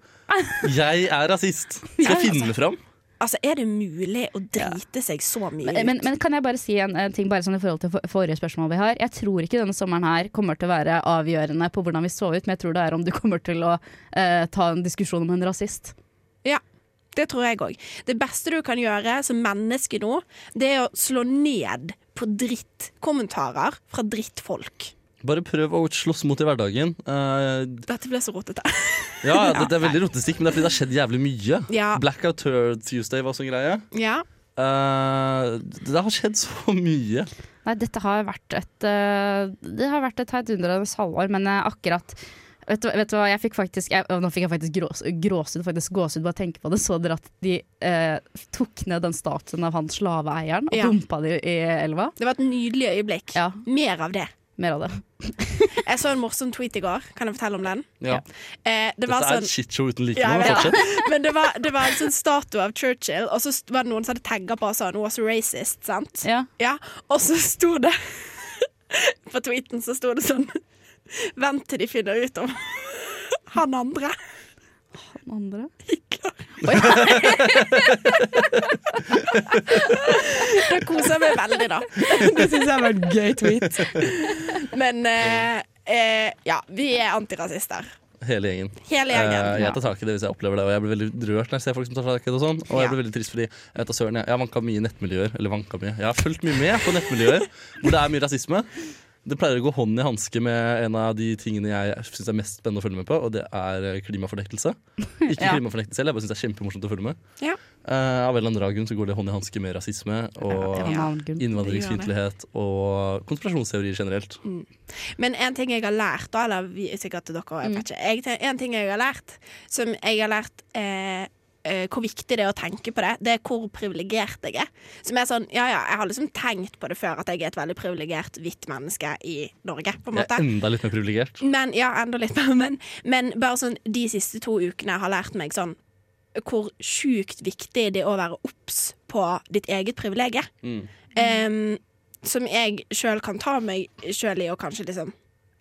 Jeg er rasist. Skal jeg finne fram?
Altså, er det mulig å drite seg så mye ut?
Eh, Men, men kan jeg bare si en, en ting bare sånn i forhold til for, forrige spørsmål vi har? Jeg tror ikke denne sommeren her kommer til å være avgjørende på hvordan vi så ut, men jeg tror det er om du kommer til å eh, ta en diskusjon om en rasist.
Ja, det tror jeg òg. Det beste du kan gjøre som menneske nå, det er å slå ned på drittkommentarer fra drittfolk.
Bare prøv å slåss mot i hverdagen. Eh,
Dette ble så rotete.
ja, det, det er veldig rotestikk, men det er fordi det har skjedd jævlig mye.
*laughs* Ja.
Blackout Tur- Tuesday var sånn greie.
Ja.
Eh, det har skjedd så mye.
Nei, dette har vært et eh, Det har vært et heidundrende halvår, men eh, akkurat Vet du, hva- vet du hva, jeg fikk faktisk jeg, Nå fikk jeg faktisk grås, gråsud, faktisk gåsehud bare tenke på det. Så dere at de eh, tok ned den statuen av han slaveeieren og
Ja.
dumpa det i elva?
Det var et nydelig øyeblikk.
Ja.
Mer av det.
Mer av det.
Jeg så en morsom tweet i går. Kan jeg fortelle om den?
Ja.
Eh, det var
Dette er
sånn
et shitshow uten like.
Ja,
nå, men
jeg vet
fortsett.
det. *laughs* Men det var, det var en sånn statue av Churchill, og så st- var det noen som hadde tagga på og sa 'han was racist'. sant?
Ja.
Ja, og så sto det *laughs* På tweeten så sto det sånn Vent til de finner ut om *laughs* han andre
Andre?
hykler. Da koser jeg meg veldig, da. Det syns jeg var en gøy tweet. Men eh, eh, ja, vi er antirasister.
Hele gjengen.
Hele
Eh,
gjengen.
jeg tar tak i det hvis jeg opplever det, og jeg blir veldig rørt når jeg ser folk som tar tak i det. Og sånn Og jeg
Ja.
blir veldig trist fordi jeg vet da søren, jeg, jeg har vanka mye i nettmiljøer. Eller vanka mye Jeg har fulgt mye med på nettmiljøer hvor det er mye rasisme. Det pleier å gå hånd i hanske med en av de tingene jeg syns er mest spennende å følge med på, og det er eh, klimafornektelse. Ikke
Ja.
klimafornektelse selv, jeg bare syns det er kjempemorsomt å følge med.
Ja.
Eh, av en eller annen rar grunn så går det hånd i hanske med rasisme
Ja,
og
Ja.
navngull.
innvandringsfiendtlighet og konspirasjonsteorier generelt.
Men en ting jeg har lært, da, eller vi, sikkert til dere, jeg vet ikke. Jeg, ten- en ting jeg har lært, som jeg har lært eh, eh, hvor viktig det er å tenke på det, det er hvor privilegert jeg er. Som er sånn, ja ja, jeg har liksom tenkt på det før, at jeg er et veldig privilegert hvitt menneske i Norge, på en
Jeg
måte.
er enda litt mer privilegert.
Men, ja, enda litt mer, men, men bare sånn de siste to ukene har lært meg sånn hvor sjukt viktig det er å være obs på ditt eget privilegium.
Mm.
Em, som jeg sjøl kan ta meg sjøl i, og kanskje liksom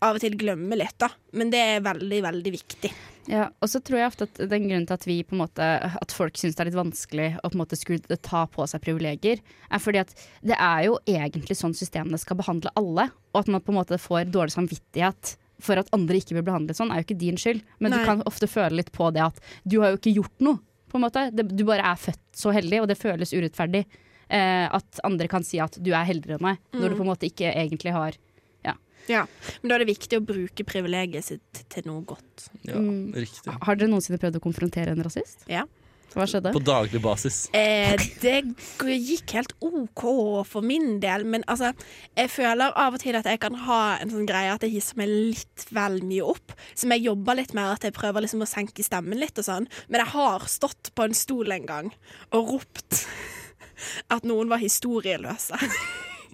av og til glemme litt, da. Men det er veldig, veldig viktig.
Ja, og så tror jeg ofte at den grunnen til at vi på en måte At folk syns det er litt vanskelig å på en måte skulle ta på seg privilegier, er fordi at det er jo egentlig sånn systemene skal behandle alle. Og at man på en måte får dårlig samvittighet for at andre ikke blir behandlet sånn, er jo ikke din skyld. Men
Nei.
du kan ofte føle litt på det at du har jo ikke gjort noe, på en måte. Det- Du bare er født så heldig, og det føles urettferdig. Eh, at andre kan si at du er heldigere enn meg, når
Mm.
du på en måte ikke egentlig har
Men da er det viktig å bruke privilegiet sitt til noe godt.
Ja, riktig.
Har dere noensinne prøvd å konfrontere en rasist?
Ja.
Hva skjedde?
På daglig basis.
Eh, det g- gikk helt OK for min del, men altså Jeg føler av og til at jeg kan ha en sånn greie at jeg hisser meg litt vel mye opp. Som jeg jobber litt med, at jeg prøver liksom å senke stemmen litt og sånn. Men jeg har stått på en stol en gang og ropt *laughs* at noen var historieløse.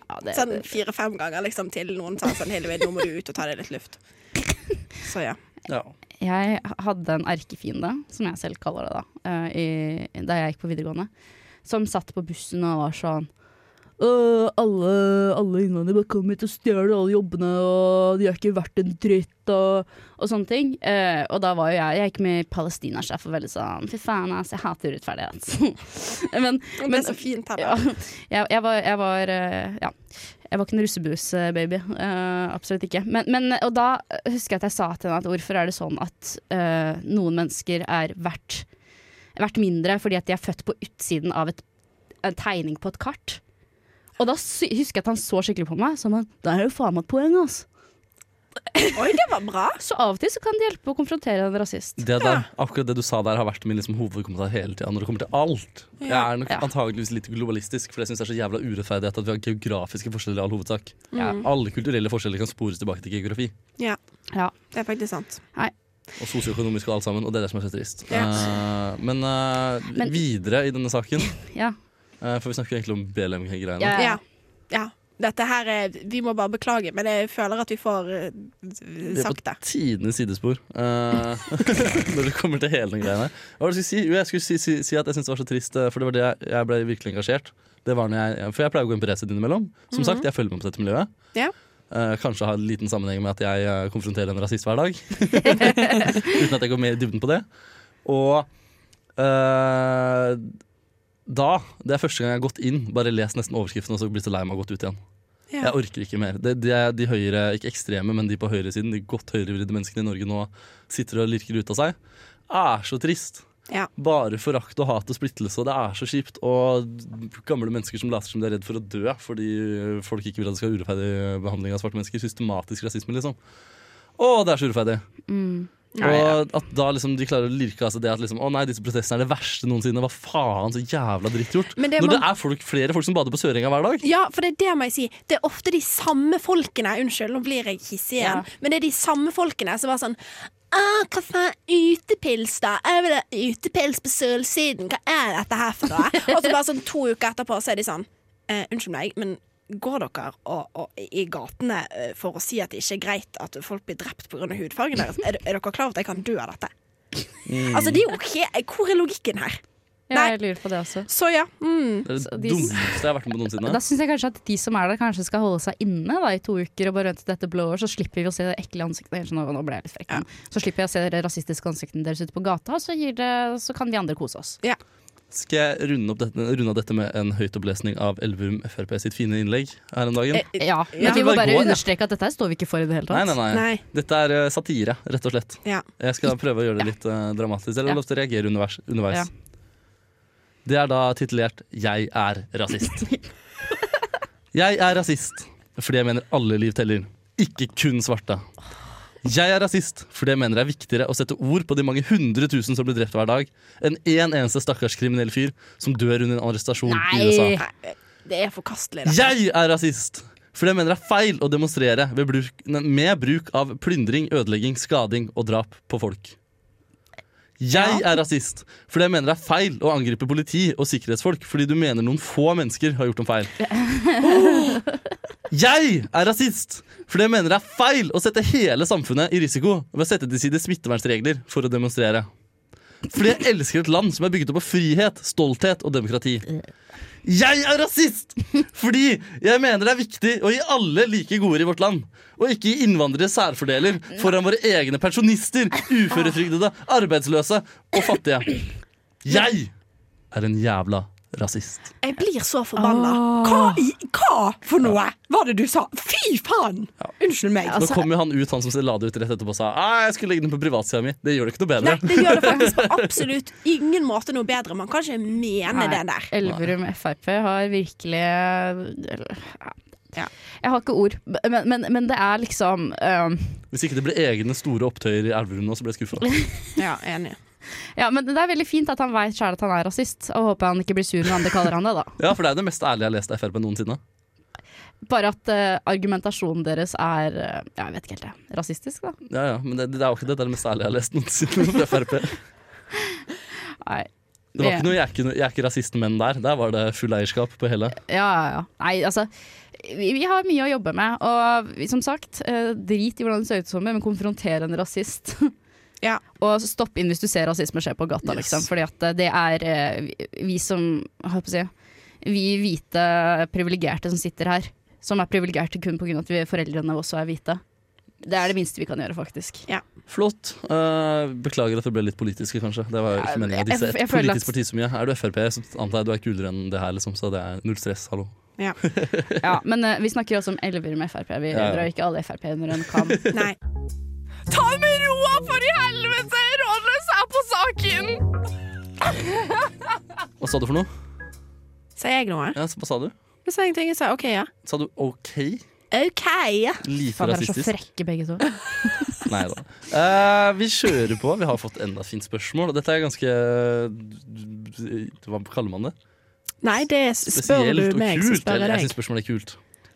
Ja, det,
Sånn fire-fem ganger liksom til noen sa sånn Hillevi, nå må du ut og ta deg litt *laughs* luft. Så ja.
Ja.
Jeg hadde en erkefiende, som jeg selv kaller det da, eh, i, da jeg gikk på videregående, som satt på bussen og var sånn «Øh, alle, alle innvandrere bare kommer hit og stjeler alle jobbene, og de er ikke verdt en dritt, og, og sånne ting. Eh, og da var jo jeg Jeg gikk med i Palestina-sjef og veldig sånn Fy faen, ass, jeg hater urettferdighet. *laughs* men
Men, det er så fint her, da.
ja. *laughs* Jeg, jeg var, jeg var eh, ja. Jeg var ikke en russebus-baby. eh, absolutt ikke. Men, men, og da husker jeg at jeg sa til henne at hvorfor er det sånn at eh, noen mennesker er verdt, verdt mindre fordi at de er født på utsiden av et, en tegning på et kart? Og da sy husker jeg at han så skikkelig på meg. Så han, da er det jo faen meg et poeng, altså.
*laughs* Oi, det var bra.
Så av og til så kan det hjelpe å konfrontere en rasist.
Det der, akkurat det du sa der, har vært min liksom, hovedkommentar hele tida når det kommer til alt. Jeg er nok
Ja.
antageligvis litt globalistisk, for jeg syns det er så jævla urettferdig at vi har geografiske forskjeller i all hovedsak.
Ja.
Alle kulturelle forskjeller kan spores tilbake til geografi.
Ja,
Ja.
det er faktisk sant.
Og sosioøkonomisk og alt sammen, og det er det som er så trist. Eh, men, eh,
Men-
videre i denne saken,
ja.
eh, for vi snakker jo egentlig om BLM-greiene.
Ja.
Ja. ja. Dette her er Vi må bare beklage, men jeg føler at vi får eh,
Vi er på
sagt det.
tidenes sidespor eh, *laughs* når det kommer til hele den greia der. Hva var det jeg skulle si? Jo, jeg skulle si, si, si at jeg syntes det var så trist, eh, for det var det jeg, jeg ble virkelig engasjert. Det var når jeg, for jeg pleier å gå inn på Resett innimellom. Som sagt, jeg følger med på dette miljøet.
Ja.
Eh, kanskje ha en liten sammenheng med at jeg eh, konfronterer en rasist hver dag. Uten at jeg går mer i dybden på det. Og eh, da Det er første gang jeg har gått inn, bare lest nesten overskriften og så blitt så lei meg og gått ut igjen.
Ja.
Jeg orker ikke mer. Det, det er de høyre, ikke ekstreme, men de på høyresiden, de godt høyrevridde menneskene i Norge nå sitter og lirker ut av seg, er så trist.
Ja.
Bare forakt og hat og splittelse, og det er så kjipt. Og gamle mennesker som later som de er redd for å dø fordi folk ikke vil at det skal være urettferdig behandling av svarte mennesker. Systematisk rasisme, liksom. Å, det er så urettferdig.
Mm.
Og at da liksom de klarer å lirke av seg det at liksom, å nei, disse protestene er det verste noensinne. Hva faen, så jævla drittgjort.
Men det
Når
man-
det er folk, flere folk som bader på Sørenga hver dag.
Ja, for det er det må jeg si. Det er ofte de samme folkene Unnskyld, nå blir jeg hissig
Ja.
igjen. Men det er de samme folkene som var sånn «Ah, Hva faen, utepils, da? Jeg vil ha utepils på Sølsiden. Hva er dette her for
*laughs*
noe? Og så bare sånn to uker etterpå, så er de sånn eh, Unnskyld meg, men går dere og, og, i gatene eh, for å si at det ikke er greit at folk blir drept pga. hudfargen deres? Er, er dere klar over at jeg kan dø av dette?
Mm.
Altså, det er jo ikke Hvor er logikken her? Nei.
jeg lurer på det også.
Så ja. Mm.
Det er
Så
det
de-
dummeste jeg har vært med på noensinne.
Da syns jeg kanskje at de som er der, kanskje skal holde seg inne da, i to uker og bare vente til dette blower, så slipper vi å se det ekle ansiktet deres. Nå, nå ble jeg litt frekk. men Så slipper jeg å se det rasistiske ansiktene deres ute på gata, og så, gir det, så kan vi andre kose oss.
ja.
Skal jeg runde, opp dette, runde av dette med en høytopplesning av Elverum Frp sitt fine innlegg her om dagen?
Eh,
Ja, men
Jeg
vi
tror
må
bare
bare
går, ja.
understreke at dette her står vi ikke for i det hele
Nei, nei,
tatt.
nei,
Nei.
Dette er eh, satire, rett og slett.
ja.
Jeg skal prøve å gjøre det litt eh, dramatisk. Eller
Ja.
lov til å reagere underveis. underveis.
Ja.
Det er da titulert 'Jeg
*laughs*
er rasist'. jeg er rasist fordi jeg mener alle liv teller. ikke kun svarte. Jeg er rasist, for det mener jeg er viktigere å sette ord på de mange hundre tusen som blir drept hver dag, enn én eneste stakkars kriminell fyr som dør under en arrestasjon i USA.
Nei!
Nei, eh, det er forkastelig. dette.
Jeg er rasist! For det mener det er feil å demonstrere ved bruk, ne- med bruk av plyndring, ødelegging, skading og drap på folk. Jeg er rasist, for det mener det er feil å angripe politi og sikkerhetsfolk fordi du mener noen få mennesker har gjort en feil. Jeg er rasist, for det mener det er feil å sette hele samfunnet i risiko ved å sette til side smittevernregler for å demonstrere. Fordi jeg elsker et land som er bygget opp av frihet, stolthet og demokrati. Jeg er rasist! Fordi jeg mener det er viktig å gi alle like goder i vårt land. Og ikke gi innvandrere særfordeler foran våre egne pensjonister, uføretrygdede, arbeidsløse og fattige. Jeg er en jævla rasist.
Jeg blir så forbanna.
Hva, i- hva for noe var det du sa? Fy faen! Unnskyld meg.
Altså,
Nå kom jo han ut, han som la det ut rett etterpå og sa «Ah, jeg skulle legge den på privatsida mi. Det gjør det ikke noe
Nei,
bedre.
det gjør det
*laughs*
faktisk på absolutt ingen måte noe bedre. Man kan ikke mene det der.
Elverum Frp har virkelig eller,
Ja.
ja. Jeg har ikke ord, men, men, men det er liksom um,
Hvis ikke det ble egne store opptøyer i Elverum nå, så ble jeg skuffa.
Ja, enig.
Ja, men det er veldig fint at han veit sjæl at han er rasist, og håper han ikke blir sur når andre kaller han det, da.
Ja, for det er jo det mest ærlige jeg har lest av Frp noensinne.
Bare at eh, argumentasjonen deres er eh, ja, Jeg vet ikke helt, det. Rasistisk, da?
Ja, ja, Men det, det er jo ikke det, det er det mest ærlige jeg har lest noensinne fra Frp.
Nei.
Det var
Vi-
ikke noe 'jeg er ikke, noe- jeg er ikke rasist, men' der. Der var det full eierskap på hele.
Ja, ja, ja. Nei, altså vi, vi har mye å jobbe med, og vi, som sagt, eh, drit i hvordan det ser ut som, men konfronter en rasist. *laughs*
Ja.
og stopp inn hvis du ser rasisme skje på gata,
Yes.
liksom. Fordi at eh, det er eh, vi- vi som hva skal jeg si, Vi hvite privilegerte som sitter her, som er privilegerte kun pga. at vi, foreldrene også er hvite. Det er det minste vi kan gjøre, faktisk.
Flott. Eh, beklager at det ble litt politiske, kanskje. Det var jo ikke meningen å disse
Jeg- jeg- jeg
et
føler
politisk parti så mye. Er du Frp, så antar jeg du er kulere enn det her, liksom, så det er null stress. Hallo.
Ja, men eh, vi snakker også om elver med Frp. Vi
Ja, ja.
drar ikke alle Frp under en kam.
Nei.
*laughs* Ta med roa, for i helvete! Rådløs er på saken!
Hva sa du for noe?
Sa jeg noe?
Ja, så, hva sa du?
Jeg sa ingenting. Jeg sa OK, ja.
Sa du OK?
OK!
Lite
Faen, dere er så
rasistisk?
frekke begge to.
Nei da. vi kjører på. Vi har fått enda et fint spørsmål, og dette er ganske Hva kaller man det?
Nei, det s- spør
Spesielt
du
og
meg, så
kult.
spør
Eller,
jeg
jeg
deg.
syns spørsmålet er kult.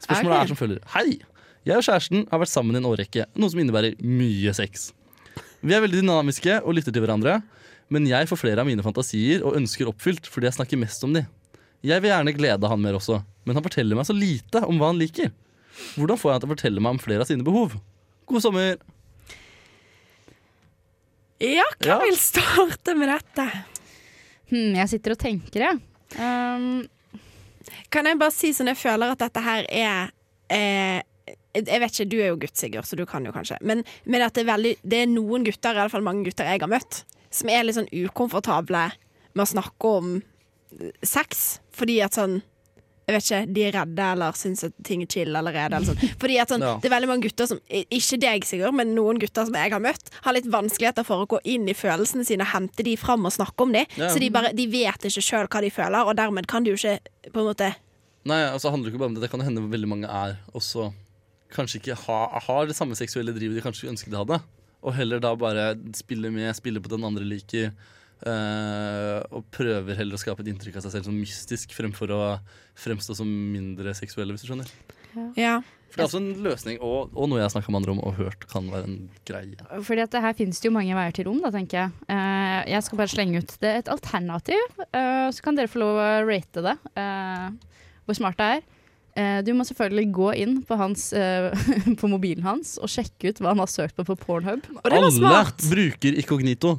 Spørsmålet
Ok.
er som følger. Hei! Jeg og kjæresten har vært sammen i en årrekke, noe som innebærer mye sex. Vi er veldig dynamiske og lytter til hverandre, men jeg får flere av mine fantasier og ønsker oppfylt fordi jeg snakker mest om de. Jeg vil gjerne glede han mer også, men han forteller meg så lite om hva han liker. Hvordan får jeg han til å fortelle meg om flere av sine behov? God sommer!
Ja, hvem
Ja.
vil starte med dette?
Hmm, jeg sitter og tenker, jeg. Um,
Kan jeg bare si sånn, jeg føler at dette her er eh, Jeg vet ikke, du er jo gutt, Sigurd, så du kan jo kanskje. Men, men at det, er veldig, det er noen gutter, i alle fall mange gutter jeg har møtt, som er litt sånn ukomfortable med å snakke om eh, sex. Fordi at sånn jeg vet ikke, De er redde eller syns at ting er chill allerede. Eller sånn. Fordi at sånn,
Ja.
Det er veldig mange gutter som i- Ikke deg, Sigurd, men noen gutter som jeg har møtt, har litt vanskeligheter for å gå inn i følelsene sine, hente de fram og snakke om de.
Ja.
Så de, bare, de vet ikke sjøl hva de føler, og dermed kan de jo ikke på en måte
Nei, altså handler det ikke bare om det. Det kan jo hende veldig mange er også Kanskje ikke ha, har det samme seksuelle drivet de kanskje ønsket de hadde. Og heller da bare spille med, spille på den andre liker. eh, og prøver heller å skape et inntrykk av seg selv som mystisk fremfor å fremstå som mindre seksuelle, hvis du skjønner.
Ja.
For det er også en løsning, og, og noe jeg har snakka med andre om og hørt kan være en greie.
Fordi at det her finnes det jo mange veier til rom, da, tenker jeg. Eh, jeg skal bare slenge ut det et alternativ, eh, så kan dere få lov å rate det. eh, hvor smart det er. Eh, du må selvfølgelig gå inn på, hans, eh, *laughs* på mobilen hans og sjekke ut hva han har søkt på på Pornhub.
Og det var smart.
bruker inkognito.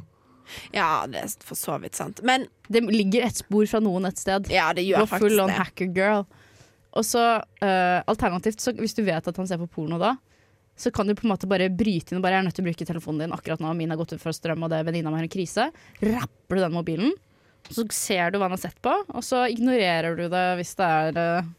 Ja, det er for så vidt sant. Men
Det ligger et spor fra noen et sted.
ja, det gjør
Gå
faktisk
full on
det.
hacker girl. Og så eh, alternativt, så hvis du vet at han ser på porno da, så kan du på en måte bare bryte inn og bare jeg er nødt til å bruke telefonen din akkurat nå, min har gått ut for strøm, og det er venninna mi har en krise. Rapper du den mobilen, så ser du hva han har sett på, og så ignorerer du det hvis det er eh,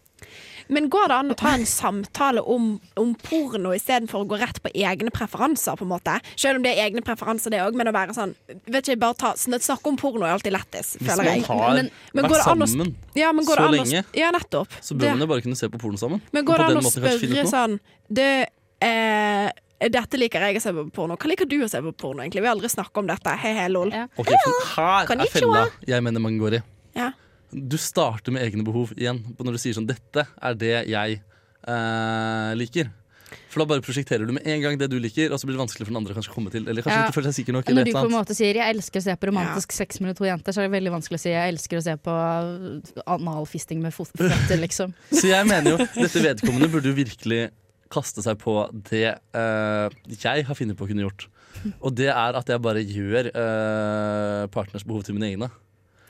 Men går det an å ta en samtale om, om porno istedenfor å gå rett på egne preferanser? på en måte? Selv om det er egne preferanser, det òg, men å være sånn vet ikke, bare ta, sn- Snakke om porno er alltid lettest,
Hvis
føler
man
jeg.
har
Men- men går
vært
det an å-
sammen,
Ja, men går
så
det an å-
lenge.
Ja, nettopp.
så
Det-
bør man jo bare kunne se på porno sammen.
Men går
På
det an
den
å
måten kanskje finne
spørre
ut noe.
sånn du, Eh, dette liker jeg å se på porno. Hva liker du å se på porno, egentlig? Vi har aldri snakket om dette. Hei, hei, lol.
Ja.
Ok, for her er
Konnichiwa.
fella jeg mener man går i.
Ja.
Du starter med egne behov igjen på når du sier sånn Dette er det jeg eh, liker. For da bare prosjekterer du med en gang det du liker, og så blir det vanskelig for den andre kanskje å komme til. Eller kanskje
Ja.
ikke føler seg sikker nok.
Når
Eller
du
et
på en
eller annet.
måte sier 'jeg elsker å se på romantisk sex mellom to jenter', så er det veldig vanskelig å si 'jeg elsker å se på analfisting med fot- føtter', liksom.
Så jeg mener jo dette vedkommende burde jo virkelig kaste seg på det eh, jeg har funnet på å kunne gjort. Og det er at jeg bare gjør eh, partners behov til mine egne.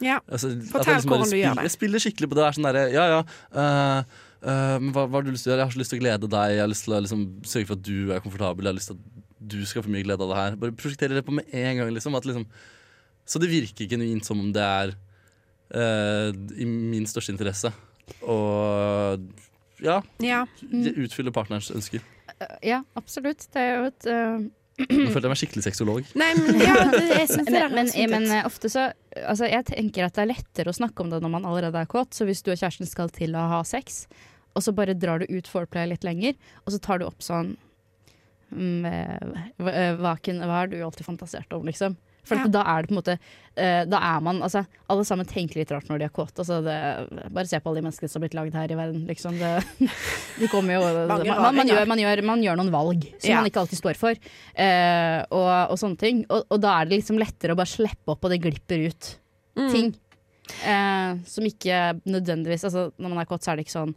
Ja.
Altså, at jeg
Fortell
bare
hvordan du gjør
spiller-
det.
Jeg spiller skikkelig på det. er sånn derre Ja, ja. eh, eh, men hva, hva har du lyst til å gjøre? Jeg har så lyst til å glede deg. Jeg har lyst til å liksom, sørge for at du er komfortabel. Jeg har lyst til at du skal få mye glede av det her. Bare prosjektere det på med en gang. Liksom, at, liksom, så det virker genuint som om det er eh, i min største interesse. Og ja,
ja.
jeg
Mm.
utfyller partnerens ønsker.
Ja, absolutt. Det er jo et eh,
Nå følte jeg meg skikkelig sexolog.
Nei, men ja, det, jeg synes det der
Men, men,
høres fint ut.
men eh, ofte så altså, Jeg tenker at det er lettere å snakke om det når man allerede er kåt. Så hvis du og kjæresten skal til å ha sex, og så bare drar du ut foreplay litt lenger, og så tar du opp sånn mm, eh, hva, eh, hva, kun- hva har du alltid fantasert om, liksom? For
Ja.
at da er det på en måte eh, Da er man Altså, alle sammen tenker litt rart når de er kåte. Altså det- bare se på alle de menneskene som har blitt lagd her i verden, liksom. Det, *laughs* de kommer jo man,
Mange
man, man,
raringer.
gjør, man, gjør, man gjør noen valg som
Ja.
man ikke alltid står for, eh, og, og sånne ting. Og, og da er det liksom lettere å bare slippe opp, og det glipper ut ting. Eh, som ikke nødvendigvis altså, Når man er kåt, så er det ikke sånn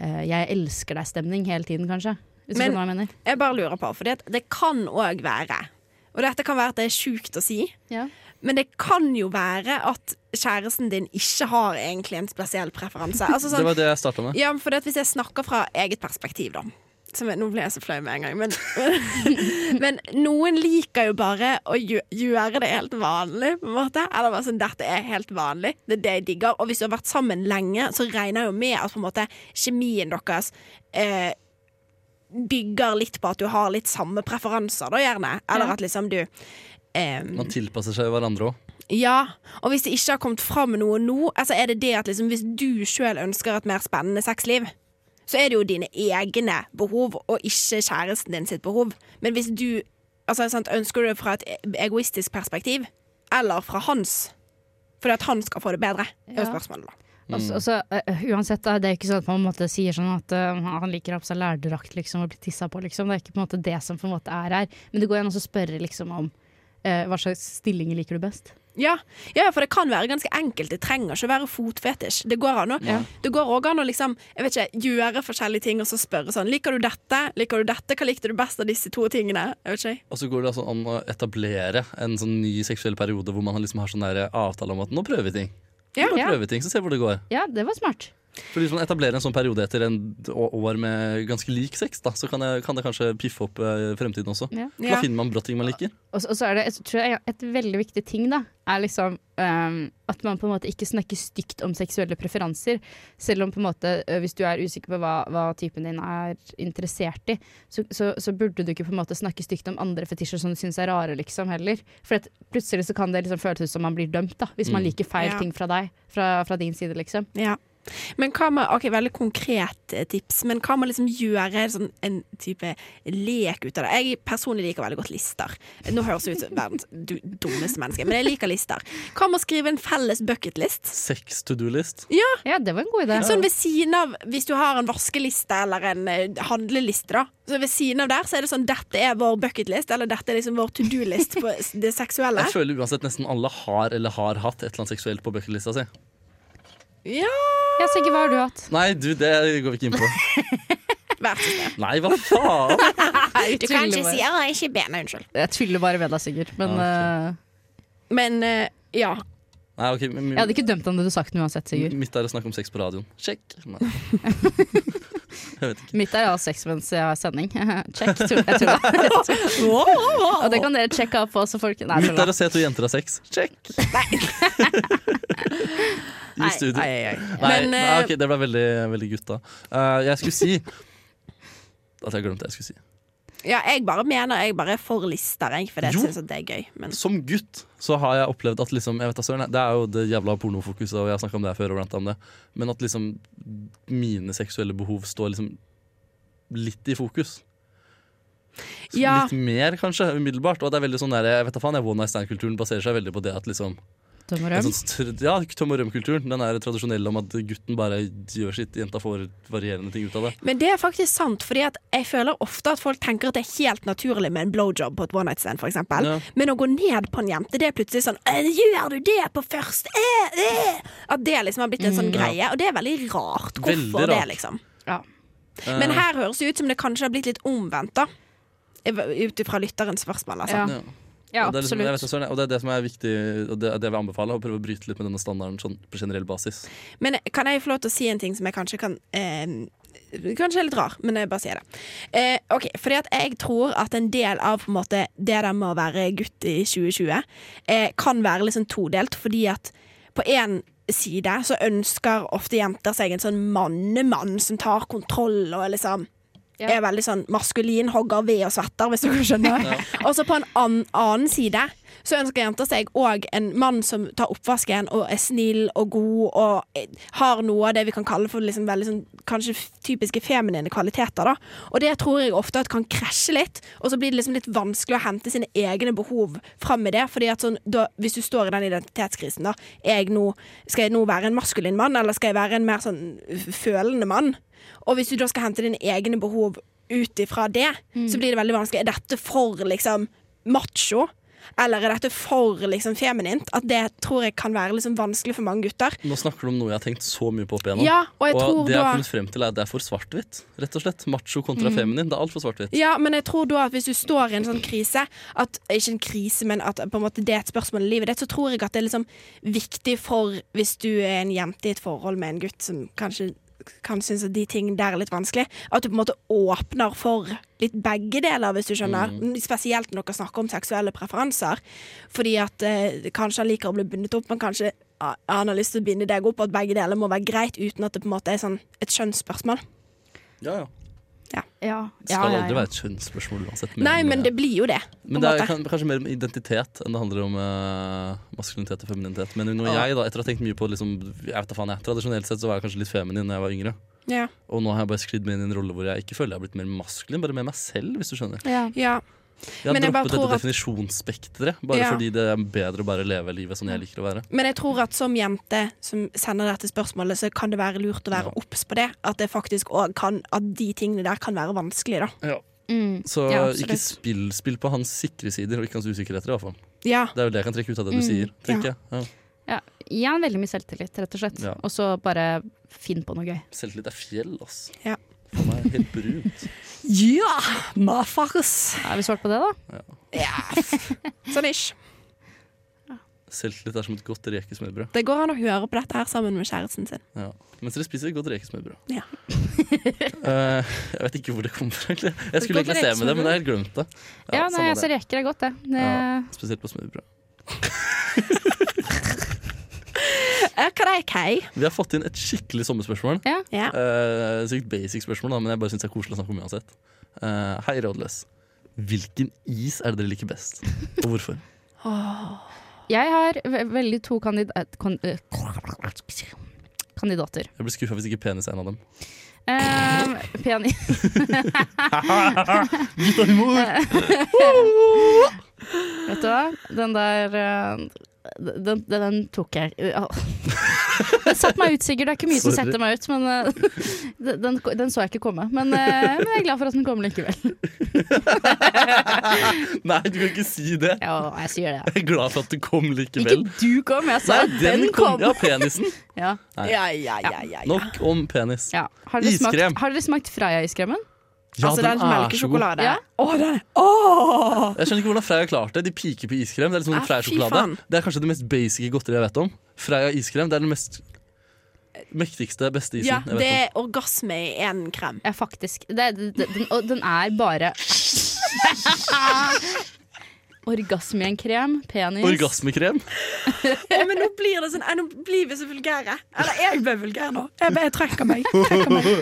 eh, 'jeg elsker deg'-stemning hele tiden, kanskje. Hvis du
Men-
skjønner hva jeg mener.
Jeg bare lurer på, for det, det kan òg være Og dette kan være at det er sjukt å si, men det kan jo være at kjæresten din ikke har egentlig en spesiell preferanse. Altså
Det
sånn,
var det jeg starta med.
ja, men for det at Hvis jeg snakker fra eget perspektiv, da. Som jeg, nå ble jeg så flau med en gang, men, men noen liker jo bare å gjø- gjøre det helt vanlig, på en måte. Eller bare sånn, dette er helt vanlig, det er det jeg digger. Og hvis du har vært sammen lenge, så regner jeg jo med at på en måte kjemien deres eh, bygger litt på at du har litt samme preferanser, da gjerne. Eller at liksom du eh,
Man tilpasser seg hverandre òg.
ja, og hvis det ikke har kommet fram noe nå, altså er det det at liksom, hvis du sjøl ønsker et mer spennende sexliv, så er det jo dine egne behov og ikke kjæresten din sitt behov. Men hvis du altså, sant, ønsker du det fra et egoistisk perspektiv, eller fra hans, fordi at han skal få det bedre, er jo
Ja.
spørsmålet, da.
Og så- og så, eh, uansett, da, det er jo ikke sånn at man på en måte sier sånn at eh, han liker å ha på seg lærdrakt liksom, og bli tissa på, liksom. Det er ikke på en måte det som på en måte er her. Men det går an å spørre liksom om eh, hva slags stillinger liker du best.
Ja. ja, for det kan være ganske enkelt. Det trenger ikke å være fotfetisj. Det går an å, det går også an å liksom, jeg vet ikke, gjøre forskjellige ting og så spørre sånn Liker du dette? Liker du dette? Hva likte du best av disse to tingene? Jeg vet ikke.
Og så går det altså an å etablere en sånn ny seksuell periode hvor man liksom har sånn der avtale om at nå prøver vi ting.
Ja.
Nå
Ja.
prøver vi ting, så se hvor det går.
Ja, det var smart.
For hvis man etablerer en sånn periode etter en d- å- år med ganske lik sex, da, så kan, jeg, kan det kanskje piffe opp eh, fremtiden også.
Ja.
Da
Ja.
finner man brått ting man liker.
Og så, og så er det jeg tror jeg, et veldig viktig ting, da, er liksom ehm, at man på en måte ikke snakker stygt om seksuelle preferanser. Selv om på en måte, ø, hvis du er usikker på hva, hva typen din er interessert i, så, så, så burde du ikke på en måte snakke stygt om andre fetisjer som du syns er rare, liksom, heller. For at plutselig så kan det liksom føles ut som man blir dømt, da, hvis man liker feil
Ja.
ting fra deg, fra, fra din side, liksom.
Ja. Men hva med, ok, Veldig konkret eh, tips, men hva med liksom gjøre sånn en type lek ut av det? Jeg personlig liker veldig godt lister. Nå høres jeg ut som verdens du- dummeste menneske, men jeg liker lister. Hva med å skrive en felles bucketlist?
Sex to do-list.
Ja, det var en god idé.
Sånn ved siden av, Hvis du har en vaskeliste eller en eh, handleliste, da. Så ved siden av der så er det sånn dette er vår bucketlist, eller dette er liksom vår to do-list på s- det seksuelle.
Jeg føler uansett nesten alle har eller har hatt et eller annet seksuelt på bucketlista si.
Ja,
Ja, så ikke hva har du hatt?
Nei, du, det går vi ikke inn
*laughs*
på.
Vær så snill.
Nei, hva faen?
Du kan ikke si 'å, jeg er ikke bena', unnskyld.
Jeg tuller bare med deg, Sigurd. Men
Ja,
Men eh, ja.
Nei, ok, men,
eh, jeg hadde ikke dømt om det du sagt den uansett, Sigurd.
Mitt er å snakke om sex på radioen. Sjekk.
*laughs*
Nei. Jeg vet ikke.
Mitt er å ha sex mens jeg har sending. *laughs* Check. Tull, jeg tuller. Og det kan dere sjekke opp også, folk. Nei,
Mitt er
tuller.
å se to jenter ha sex. Sjekk. *laughs* I studio. Nei,
Men,
nei,
eh,
ok, det ble veldig, veldig gutta. Eh, jeg skulle si *laughs* at jeg glemte det jeg skulle si.
Ja, jeg bare mener jeg bare er for lister, jeg, for jeg
Jo.
syns at det er gøy. Men
Som gutt så har jeg opplevd at liksom, jeg vet da søren, Det er jo det jævla pornofokuset, og jeg har snakka om det her før. Og ranta om det, men at liksom mine seksuelle behov står liksom litt i fokus.
Ja.
Litt mer, kanskje, umiddelbart. Og det er veldig sånn der, jeg vet da faen, jeg, One Night Stand-kulturen baserer seg veldig på det at liksom
Døm og
en
røm.
sånn, tr- Ja, Tom og røm-kulturen. Den er tradisjonelle om at gutten bare gjør sitt, jenta får varierende ting ut av det.
Men det er faktisk sant, fordi at jeg føler ofte at folk tenker at det er helt naturlig med en blowjob på et one night stand, for eksempel.
Ja.
Men å gå ned på en jente, det er plutselig sånn «Øh, Gjør du det på først? Øh, øh!» At det liksom har blitt en sånn greie. Og det er veldig rart.
Mm,
Hvorfor
Veldig
det,
rart.
liksom?
Ja.
Men
Eh,
her høres det ut som det kanskje har blitt litt omvendt, da. Ut ifra lytterens spørsmål, altså.
Ja.
ja.
ja,
Og det er liksom, jeg vet,
absolutt.
ikke, Søren, og det er det som er viktig, og det, det jeg vil anbefale, å prøve å bryte litt med denne standarden sånn, på generell basis.
Men kan jeg få lov til å si en ting som jeg kanskje kan eh, Kanskje er litt rar, men jeg bare sier det. Eh, ok, fordi at Jeg tror at en del av på en måte, det der med å være gutt i 2020 eh, kan være liksom todelt, fordi at på én side så ønsker ofte jenter seg en sånn mannemann som tar kontroll og liksom
Ja.
er veldig sånn maskulin, hogger ved og svetter, hvis du skjønner. Og så på en an annen side så ønsker jenter seg òg en mann som tar oppvasken og er snill og god og eh, har noe av det vi kan kalle for liksom veldig sånn, kanskje f- typiske feminine kvaliteter. da. Og det tror jeg ofte at kan krasje litt, og så blir det liksom litt vanskelig å hente sine egne behov fram i det. fordi at sånn, da, Hvis du står i den identitetskrisen, da, er jeg nå, skal jeg nå være en maskulin mann, eller skal jeg være en mer sånn f- følende mann? Og hvis du da skal hente dine egne behov ut ifra det, så blir det veldig vanskelig. Er dette for liksom macho? Eller er dette for liksom feminint? At det tror jeg kan være liksom vanskelig for mange gutter.
Nå snakker du om noe jeg har tenkt så mye på opp igjennom.
Ja, og jeg tror
det jeg har
da- Mm.
kommet frem til, er at det er for svart-hvitt. Rett og slett. Macho kontra feminin. Det er altfor svart-hvitt.
Ja, men jeg tror da at hvis du står i en sånn krise at, Ikke en krise, men at på en måte det er et spørsmål i livet ditt, så tror jeg at det er liksom viktig for hvis du er en jente i et forhold med en gutt som kanskje kan synes at de tingene der er litt vanskelig, at du på en måte åpner for litt begge deler, hvis du skjønner.
Mm.
Spesielt når dere snakker om seksuelle preferanser. Fordi at eh, kanskje han liker å bli bundet opp, men kanskje ah, han har lyst til å binde deg opp, og at begge deler må være greit, uten at det på en måte er sånn et skjønnsspørsmål.
Ja, ja.
Ja,
Det
ja,
skal
ja,
aldri
ja.
være et kjønnsspørsmål uansett.
Nei, men det blir jo det. på
Men
en
det er
måte.
kan- kanskje mer om identitet enn det handler om eh, maskulinitet og femininitet. Men når jeg da, etter å ha tenkt mye på liksom, jeg vet da faen jeg, Tradisjonelt sett så var jeg kanskje litt feminin da jeg var yngre.
Ja.
Og nå har jeg bare sklidd meg inn i en rolle hvor jeg ikke føler jeg har blitt mer maskulin, bare med meg selv, hvis du skjønner.
Ja.
Ja.
Jeg har
Men jeg bare
droppet
tror
dette
at-
definisjonsspekteret, bare
Ja.
fordi det er bedre å bare leve livet sånn jeg liker å være.
Men jeg tror at som jente som sender dette spørsmålet, så kan det være lurt å være obs på det. At det faktisk også kan At de tingene der kan være vanskelig, da.
Mm.
Så
Ja, absolutt.
ikke spill, spill på hans sikre sider, og ikke hans usikkerheter, i hvert fall.
Ja.
Det er jo det jeg kan trekke ut av det du
Mm,
sier, tenker jeg. Ja.
Ja. Gi han veldig mye selvtillit, rett og slett.
Ja.
Og så bare finn på noe gøy.
Selvtillit er fjell, ass.
Ja.
Faen, det er helt brunt.
Ja, motherfuckers!
Har vi svart på det, da?
Sånn ish.
Selvtillit er som et godt rekesmørbrød.
Det går an å høre på dette her sammen med kjæresten sin.
Ja. Mens dere spiser et godt rekesmørbrød.
Ja.
Eh, jeg vet ikke hvor det kommer fra, egentlig. Jeg skulle
Godt
egentlig se med det, men jeg har helt glemt det.
Ja,
samme
nei, altså
det.
reker er godt, det. Eh, det
Ja, spesielt på smørbrød.
Hva er kei?
Vi har fått inn et skikkelig sommerspørsmål.
ja.
Ja.
Eh, Sykt basic spørsmål, da, men jeg bare syns det er koselig å snakke om uansett. Eh, hei, Rådløs. Hvilken is er det dere liker best, og hvorfor?
Jeg har ve veldig to kandida kan øh, kandidater.
Jeg blir skuffa hvis ikke penis er en av dem. *laughs*
Um, penis *laughs* Vet du hva? Den der øh, den, den, den tok jeg Åh. *laughs* Den satte meg ut, Sigurd. Det er ikke mye som
Sorry.
setter meg ut. Men øh, *laughs* den- den, den så jeg ikke komme. Men, øh, men jeg er glad for at den kommer likevel.
Nei, du kan ikke si det!
*laughs* Ja, jeg sier det.
Jeg er glad for at du kom likevel.
Ikke du kom, jeg sa at den kom!
Ja,
*laughs*
penisen.
Ja.
Ja, ja, ja, ja. ja.
Nok om penis.
Ja. Har, dere
Iskrem.
smakt, har dere smakt Freia-iskremmen?
Ja,
altså, den melkesjokolade.
Ja.
Å, den er Åh!
Jeg skjønner ikke hvordan Freia har klart det. De piker på iskrem. Det er liksom
Ah,
Freia
fy
sjokolade
faen.
Det er kanskje det mest basic godteriet jeg vet om. Freia iskrem det er den mest mektigste, beste isen
Ja,
jeg vet
det er orgasme i én krem.
Ja, faktisk. Det, det, det, den, og den er bare Orgasme i en krem, penis
om. Orgasmekrem.
Å, men nå blir det sånn eh, Nå blir vi så vulgære. Eller jeg ble vulgær nå. Jeg, bare- jeg trekker meg. Trekker meg. *laughs*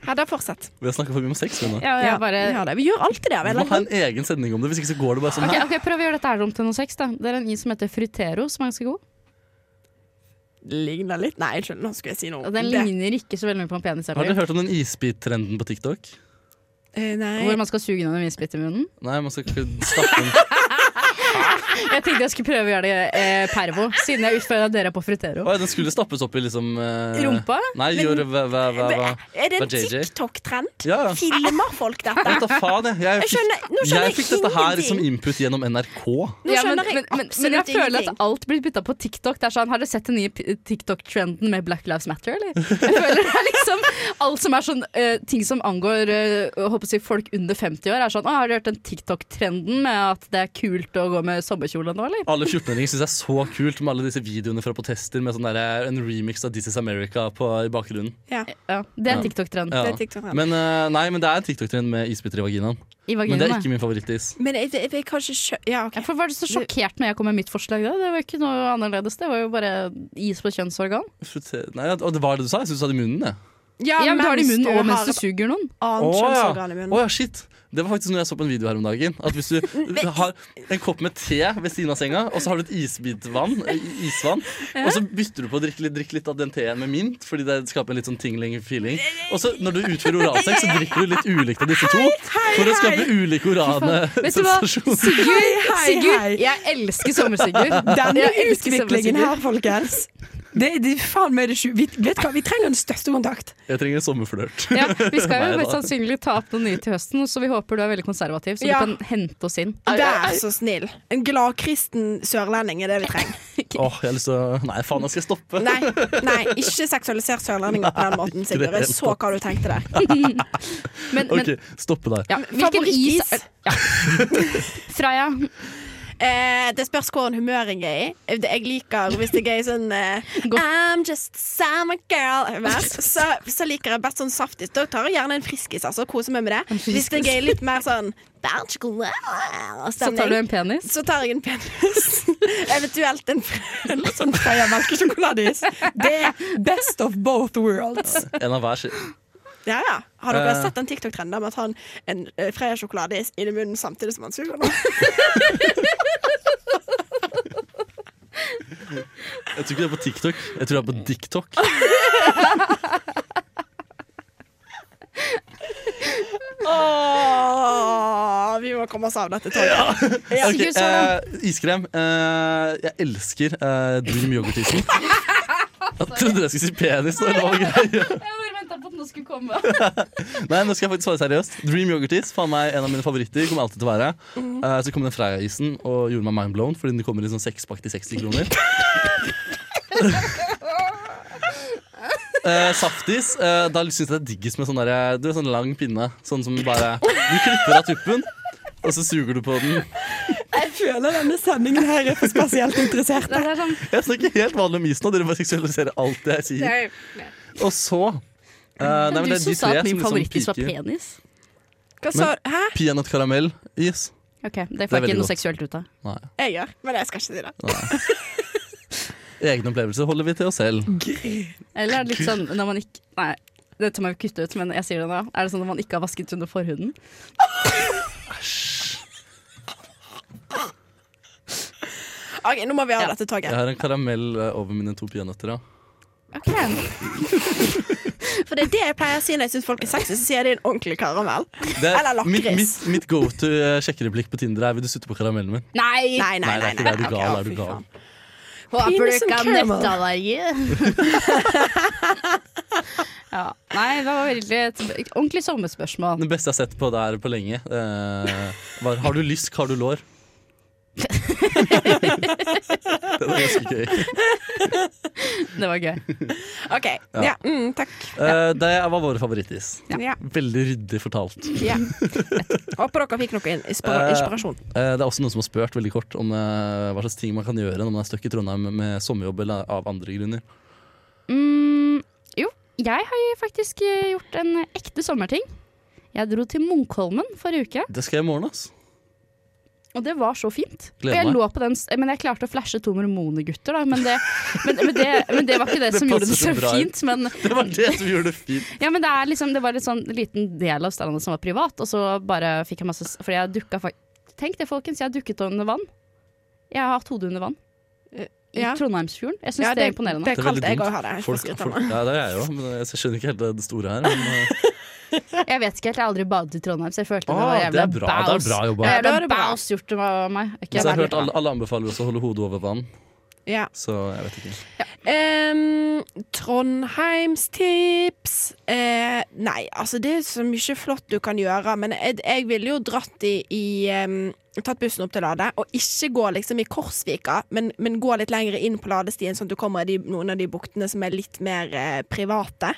Hedda, fortsett.
Vi har snakka for mye om sex. Men,
Ja, jeg
Ja,
bare
vi, har det. vi gjør alltid det. av en
vi
eller
må ha
annen
en egen sending om det, hvis ikke så går det bare sånn
Ok,
her.
ok, Prøv å gjøre dette her om til noe sex. da Det er en is som heter Frutero, som er ganske god.
grunn. Ligner litt. Nei, unnskyld, nå skulle jeg si noe.
Og Den
Det-
ligner ikke så veldig mye på en penis.
Har
heller.
dere hørt om den isbit-trenden på TikTok?
Eh, nei.
Hvor man skal suge noen vindspytt i munnen.
Nei, man skal ikke stappe den
Jeg tenkte jeg skulle prøve å gjøre det eh, pervo, siden jeg utfordra dere på frutero.
Oi, Den skulle stappes opp i liksom eh,
Rumpa?
Nei,
Men-
gjøre hva, hva, hva, hva.
Er det en
Hva, JJ?
TikTok-trend?
Ja, ja.
Filmer folk
*laughs*
dette?
Vet da faen, jeg. Jeg
Jeg skjønner- nå
fikk,
skjønner
jeg
jeg
fikk dette her som
ingenting.
input gjennom NRK.
Nå
Ja, men,
skjønner
men,
jeg
men, men jeg
absolutt
føler
ingenting.
at alt blir bytta på TikTok. Det er sånn, Har dere sett den nye p- TikTok-trenden med Black Lives Matter, eller? Jeg føler det er liksom Alt som er sånn eh, ting som angår eh, jeg håper å si folk under 50 år, er sånn Å, har dere hørt den TikTok-trenden med at det er kult å gå med sommerkjole nå, eller?
Alle 14-åringer syns det er så kult med alle disse videoene fra protester med sånn der, en remix av This Is America på, i bakgrunnen.
Ja,
Ja, det
Ja.
er TikTok-trend.
Ja.
det er TikTok-trend.
Men, eh, nei, men det er en TikTok-trend med isbiter i vaginaen.
I
Men det er
vaginaen.
ikke min favorittis.
Men jeg, jeg, jeg kan ikke skjø... Ja, OK.
Hvorfor var du så sjokkert når jeg kom med mitt forslag? da? Det var jo ikke noe annerledes. Det var jo bare is på kjønnsorgan.
Frute- Nei, og det var det du sa? Jeg syns du hadde i munnen, jeg.
Ja, men du har det i
mens
munnen og mens
har
du suger noen.
et annet kjønnsorgan i munnen.
Å ja, shit. Det var faktisk noe jeg så på en video her om dagen. At Hvis
*laughs*
du har en kopp med te ved siden av senga, og så har du et isbitvann, eh, isvann, og så bytter du på å drikke litt, drikke litt av den teen med mint, fordi det skaper en litt sånn tingling feeling. Og så når du utfører oralsex, så drikker du litt ulikt av disse to for å skape ulike orale
Vet du hva?
sensasjoner.
Sigurd,
hei, hei.
Sigurd jeg elsker sommer-Sigurd.
Denne
Jeg elsker
utviklingen
sommer-Sigurd.
her, folkens. Det, det, faen meg det sju... Vi, vet du hva, vi trenger en støttekontakt.
Jeg trenger en sommerflørt.
*laughs* Ja, vi skal
Nei
jo
da.
mest sannsynlig ta opp noen nye til høsten, så vi håper du er veldig konservativ, så
Ja.
du kan hente oss inn.
Vær så snill. En gladkristen sørlending er det vi
*laughs*
trenger.
Åh, jeg har lyst til å Nei, faen, jeg skal stoppe.
Nei, nei ikke seksualiser sørlendinger på den måten,
ikke det
Sigurd. Jeg så hva du tenkte der.
Men, men
OK, stoppe der.
ja, hvilken is
Favorittis?
ja. *laughs* Freya,
Eh, det spørs hvordan humør jeg er i. Det jeg liker hvis jeg er i sånn eh,
Godt.
I'm just summer girl humør, så, så liker jeg best sånn saftis. Da tar jeg gjerne en friskis altså, og koser meg med det. Hvis jeg er i litt mer sånn
så tar du
stemning,
en penis.
så tar jeg en penis. *laughs* Eventuelt en frø.
*laughs*
Eller sånn Freia melkesjokoladeis. Det er best of both
*laughs*
worlds.
En av hver sin.
Ja, ja. Har dere
Eh.
sett den TikTok-trenden der med at han en eh, Freia sjokolade i i munnen samtidig som han suger
*laughs*
den?
Jeg tror ikke det er på TikTok. Jeg tror det
Mm.
er på DikTok.
Åh, vi må komme oss av dette toget.
Ok,
Sigurd Solan.
eh, iskrem. Eh, jeg elsker uh, Dream yoghurtisen. Jeg trodde jeg skulle si penis. nå, Eller hva var greia?
Jeg bare venta på at den skulle komme.
Nei, nå skal jeg faktisk svare seriøst. Dream yoghurtis faen meg en av mine favoritter. Kommer alltid til å være Eh, Så kom den Freia-isen og gjorde meg mindblown fordi den kommer i sånn sekspakk til 60 kroner. Eh, saftis. eh, da syns jeg det er diggest med sånn, der, du vet, sånn lang pinne. Sånn som bare Du klipper av tuppen, og så suger du på den.
Jeg føler denne sendingen her er for spesielt interesserte.
Det er sånn,
Jeg snakker helt vanlig om isen, og dere bare seksualiserer alt det jeg sier. Og så eh, nei, men det
du
er de
som sa
tre
at min
som liksom
favorittis var
piker.
penis.
Hva sa du? Hæ?
Peanøttkaramell-is.
Ok, Det
Det er
får jeg
veldig
ikke noe
godt.
seksuelt ut av.
Nei.
Jeg gjør, men jeg skal ikke si det.
Egne opplevelser holder vi til oss selv.
Eller er det litt sånn når man ikke Nei, dette må vi kutte ut, men jeg sier det nå. Er det sånn når man ikke har vasket under forhuden?
Ok, Nå må vi av
Ja.
dette
Jeg
toget.
har en karamell eh, over mine to peanøtter. Ja.
Ok
For det er det jeg pleier å si når jeg syns folk er sexy, så sier de en ordentlig karamell.
Det er-
Eller
Mitt,
lakris.
mitt, mitt go to eh, sjekkereplikk på Tinder er 'vil du sutte på karamellen min'?
Nei!
Nei,
det er
nei, nei.
ikke
nei,
det. Er du
Ok,
gal,
å,
er du
fy
gal.
faen.
Håper
Penis and camel.
*laughs* ja. Nei, det var veldig et ordentlig sommerspørsmål.
Det beste jeg har sett på der på lenge, eh, var 'har du lysk, har du
*laughs*
lår'? det var ganske gøy.
Det var gøy.
OK. Ja. mm, takk.
Eh, det var vår favorittis.
Ja.
Veldig ryddig fortalt.
Ja. Håper dere fikk noe in- inspira
Eh.
inspirasjon.
Eh, Det er også noen som har spurt veldig kort om eh, hva slags ting man kan gjøre når man er stuck i Trondheim med sommerjobb eller av andre grunner.
Mm, jo, jeg har jo faktisk eh, gjort en ekte sommerting. Jeg dro til Munkholmen forrige uke,
Det skal jeg i morgen, ass. *laughs*
og det var så fint.
Gleder
og jeg
meg.
lå på den, s- men jeg klarte å flashe to mormonegutter, da. Men det, men, men, det, men det var ikke det,
Det
som gjorde
passer
det så
så bra inn.
fint. Men,
Det var det som gjorde det fint.
Ja, men det, er liksom, det var en sånn liten del av stranda som var privat, og så bare fikk jeg masse s- Fordi jeg dukka fa- Tenk det, folkens, jeg har dukket under vann. Jeg har hatt hodet under vann. I
Eh, Ja.
Trondheimsfjorden. Jeg syns
Ja,
det er
*laughs*
imponerende.
Det er kaldt jeg òg har det. Jeg får
Folk,
skryte av
folk,
meg. *laughs*
ja, det er jeg òg, men jeg skjønner ikke helt det store her. Men, eh,
Jeg vet ikke helt, jeg har aldri badet i Trondheim, så jeg følte det
Ah,
var
det
jævla
er bra, det
baus.
er bra jobba.
Det er
Ja, da er
jævla
det bra.
baus gjort av meg.
Så
Ikke
jeg har
veldig
hørt alle, alle anbefaler oss å holde hodet over vann.
Ja.
Så jeg vet ikke.
Um, Trondheimstips eh, Nei, altså det er så mye flott du kan gjøre, men jeg, jeg ville jo dratt i, i em, Tatt bussen opp til Lade, og ikke gå liksom i Korsvika, men, men gå litt lenger inn på ladestien, sånn at du kommer i de, noen av de buktene som er litt mer eh, private.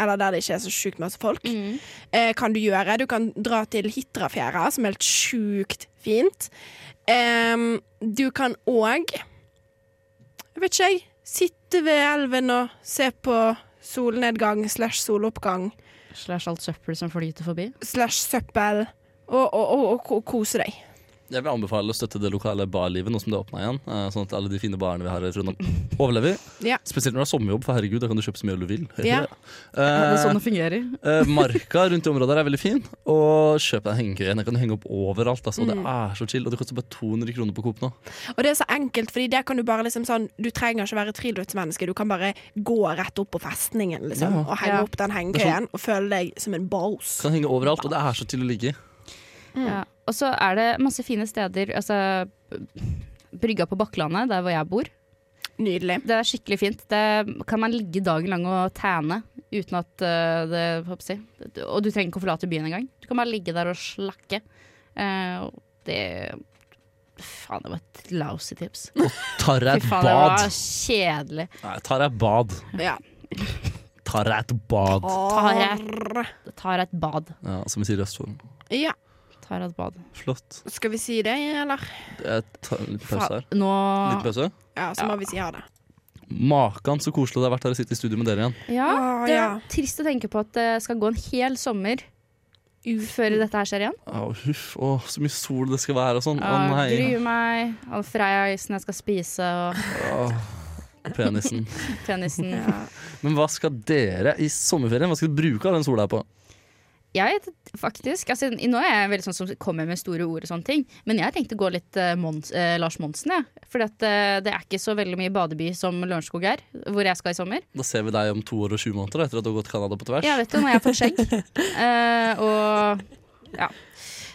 Eller der det ikke er så sjukt masse folk. Eh, kan du gjøre. Du kan dra til Hitrafjæra, som er helt sjukt fint. Em, du kan òg jeg vet ikke, jeg. Sitte ved elven og se på solnedgang slash soloppgang
Slash alt søppel som flyter forbi.
slash søppel. Og, og, og, og ko- kose deg.
Jeg vil anbefale å støtte det lokale barlivet nå som det åpna igjen. eh, Sånn at alle de fine barene vi har i Trondheim overlever.
Ja.
Spesielt når du har sommerjobb, for herregud, da kan du kjøpe så mye øl du vil.
Ja.
Det er
Eh,
sånn det fungerer.
eh, marka rundt i området her er veldig fin, og kjøp deg en hengekøye. Den kan du henge opp overalt. Altså. og
Mm.
Det er så chill, og det koster bare 200 kroner på Coop nå.
Og det er så enkelt, fordi der kan du bare liksom sånn Du trenger ikke være friluftsmenneske, du kan bare gå rett opp på festningen liksom,
Ja.
og henge
Ja.
opp den
Det er
hengekøyen og føle deg som en boss.
Kan henge overalt, og det er så chill å ligge i.
Mm.
Ja. Og så er det masse fine steder. Altså, brygga på Bakklandet, der hvor jeg bor.
Nydelig.
Det er skikkelig fint. Det kan man ligge dagen lang og tæne uten at eh, det hva skal jeg si. Og du trenger ikke å forlate byen engang. Du kan bare ligge der og slakke. Eh, og det Faen, det var et lousy tips.
Tar
Fy
deg et
faen, det var
bad.
kjedelig.
Nei, tar deg et bad.
Ja.
Tar deg et bad.
Tar jeg, tar jeg et bad.
Ja, som vi sier i Østfold.
ja.
Tar jeg et bad.
Flott.
Skal vi si det, eller?
Jeg tar en liten pause her.
Faen, Nå
Litt pause.
Ja, så må vi si ha det.
Makan så koselig det har vært her å sitte i studio med dere igjen.
Ja,
Å,
det
ja.
er trist å tenke på at det skal gå en hel sommer før dette her skjer igjen.
Å, huff, å, så mye sol det skal være og sånn. Å
Jeg
nei.
gruer meg. All freisen jeg skal spise,
*laughs*
og
Penisen.
penisen.
Men hva skal dere i sommerferien? Hva skal dere bruke av den sola her på?
Jeg faktisk altså, i- Nå er jeg veldig sånn som kommer med store ord og sånne ting, men jeg tenkte å gå litt eh, Mons, eh, Lars Monsen, jeg. For det er ikke så veldig mye badeby som Lørenskog er, hvor jeg skal i sommer.
Da ser vi deg om to år og sju måneder da, etter at du har gått Canada på tvers.
Jeg vet jo når jeg har fått skjegg. *laughs* Eh, og ja.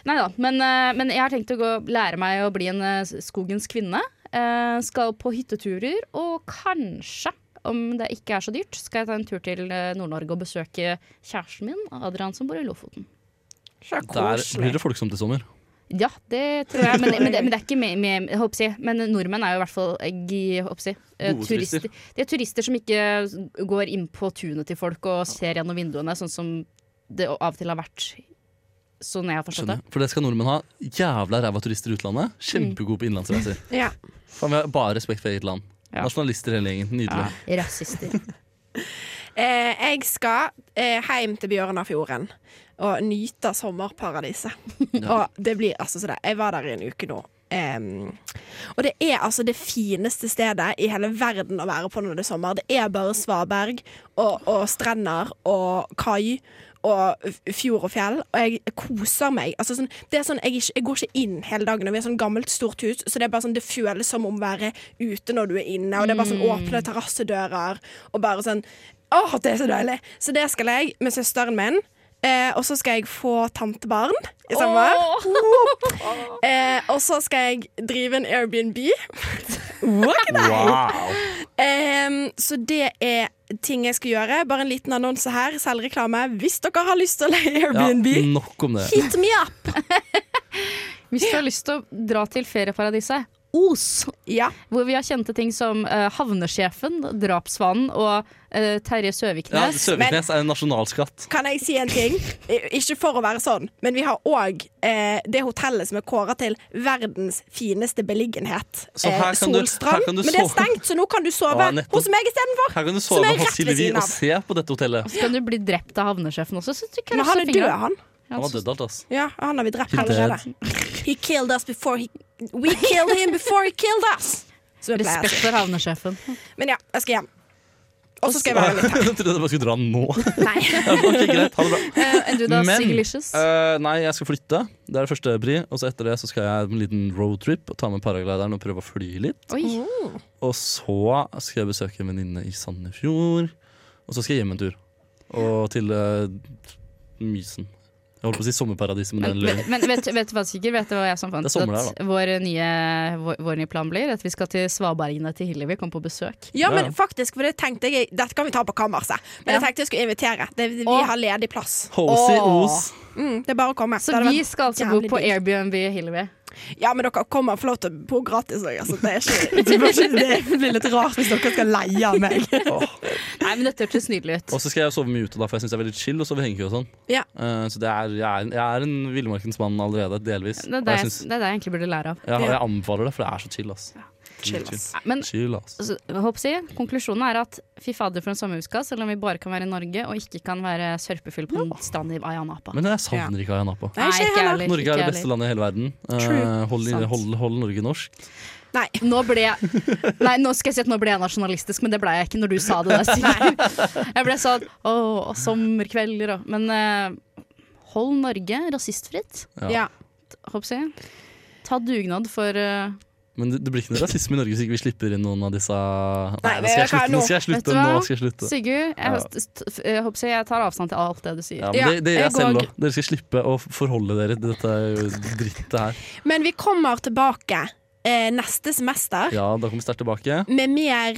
Nei da. Men, eh, men jeg har tenkt å gå, lære meg å bli en eh, skogens kvinne. Eh, skal på hytteturer, og kanskje, om det ikke er så dyrt, skal jeg ta en tur til eh, Nord-Norge og besøke kjæresten min, Adrian, som bor i Lofoten.
Så
Der
koselig.
blir det folksomt i sommer.
Ja, det tror jeg, men, men, det, men det er ikke med, med jeg håper å si. Men nordmenn er jo i hvert fall eh, gi- jeg håper å si, eh,
Gode turister.
turister. De er turister som ikke går inn på tunet til folk og ser gjennom vinduene, sånn som det av og til har vært sånn jeg har forstått det.
Skjønner. For det skal nordmenn ha. Jævla ræva turister i utlandet. Kjempegode på innenlandsreiser.
Ja.
Faen, vi har bare respekt for eget land.
Ja.
Nasjonalister hele gjengen. Nydelig.
Rasister.
Eh, jeg skal eh, hjem til Bjørnafjorden og nyte sommerparadiset. Og det blir altså så det. Jeg var der i en uke nå. Em, og det er altså det fineste stedet i hele verden å være på når det er sommer. Det er bare svaberg og, og strender og kai og f- fjord og fjell, og jeg koser meg. Altså, sånn, det er sånn, jeg, ikke, jeg går ikke inn hele dagen, og vi har sånn gammelt, stort hus, så det er bare sånn, det føles som om å være ute når du er inne, og det er bare sånn åpne terrassedører, og bare sånn Åh, det er så deilig! Så det skal jeg med søsteren min. Eh, og så skal jeg få tantebarn i sommer. Eh, og så skal jeg drive en Airbnb.
Wow.
Em, Ehm, så det er ting jeg skal gjøre. Bare en liten annonse her. Selvreklame. Hvis dere har lyst til å leie
Ja, Mm.
Airbnb,
nok om det.
hit me up!
*laughs* Hvis du har lyst til å dra til ferieparadiset Os,
Ja.
hvor vi har kjente ting som eh, Havnesjefen, Drapsvanen og eh, Terje
Ja,
Søviknes.
Søviknes er en nasjonalskatt.
Kan jeg si en ting? I- Ikke for å være sånn, men vi har òg eh, det hotellet som er kåra til verdens fineste beliggenhet.
Så her kan du- her
Solstrand.
kan du
men det er
sove-
stengt, så nå kan du sove
Ja, nettopp.
hos meg istedenfor.
Her kan du
Som
sove på
er rett ved
Silvi
siden av.
og se på dette hotellet.
Så kan du bli drept av havnesjefen også. Så du kan
Men han er
krysse
død,
fingrene.
han.
Ja,
Han var
så-
dødd alt, ass.
Ja, han har vi drept
He's
allerede. He killed us before he We killed him before he killed us! Så det pleier jeg å
Respekt
si.
for havnesjefen.
Men ja, jeg skal hjem. Og så skal jeg være
*laughs* Jeg
litt her.
trodde jeg bare skulle dra nå.
Nei.
Ja, ok, greit, ha det bra.
Eh, Enn *laughs* du da, Siglicious?
eh, nei, jeg skal flytte. Det er det første pri. Og så etter det så skal jeg en liten roadtrip og ta med paraglideren og prøve å fly litt.
Oi.
Og så skal jeg besøke en venninne i Sandefjord. Og så skal jeg hjem en tur. Og til eh, Mysen. Jeg holdt på å si sommerparadiset, men det er
Men,
en løgn.
men vet, vet du hva, Sigurd? Vet du hva jeg som fant
Det er sommer der,
at vår nye, vår, vår nye plan blir? At vi skal til svabergene til Hillevi, komme på besøk.
Ja,
Ja.
men faktisk, for det tenkte jeg Dette kan vi ta på kammerset. Men jeg tenkte jeg skulle invitere. Det, vi
Åh.
har ledig plass.
Hosey
Åh.
Os.
Mm, det er bare å komme.
Så
Det hadde
vi
vært
skal altså bo
jævlig
på
digg.
Airbnb Hillevi.
Ja, men dere kommer og får lov til å bo gratis òg. Altså, det er ikke
Det blir, ikke, det blir litt rart hvis dere skal leie meg.
Nei, men dette hørtes nydelig ut.
Og så skal jeg sove mye ute, da, for jeg syns det er veldig chill å sove i hengekøye og sånn.
Ja.
Eh, så det er, jeg, er, jeg er en villmarkens mann allerede, delvis.
Det er
Og
det
jeg,
jeg,
synes-
det er det jeg egentlig burde lære av.
ja, og jeg anbefaler det, for det er så chill, ass.
chill. ass.
Men
Chill, ass.
altså, hva håper jeg å si, konklusjonen er at fy fader for en sommerhuska, selv om vi bare kan være i Norge og ikke kan være sørpefyll på en strand i Ayanapa.
Men jeg savner ikke Ayia Napa.
Nei, ikke jeg heller.
heller,
Norge er
ikke
det beste
heller.
landet i hele verden. Eh,
True.
hold,
Sant.
hold, hold Norge norsk.
Nei.
Nå ble jeg Nei, nå skal jeg si at nå ble jeg nasjonalistisk, men det ble jeg ikke når du sa det. Der, Sigurd. jeg ble sånn Å, sommerkvelder og Men eh, hold Norge rasistfritt,
Ja.
Ja.
håper jeg. Ta dugnad for eh,
Men det, det blir ikke noe rasisme i Norge hvis ikke vi slipper inn noen av disse Nei,
Nei,
nå skal jeg
det kan
slutte. Nå skal jeg slutte.
Vet du
jeg nå.
hva?
Nå skal jeg slutte.
Sigurd, jeg,
Ja.
st- f- jeg håper jeg tar avstand til alt det du sier.
Ja, men
Ja,
det, det gjør
jeg
jeg selv
går-
òg. Dere skal slippe å forholde dere til dette drittet her.
Men vi kommer tilbake eh, neste semester
Ja, da kommer vi sterkt tilbake.
med mer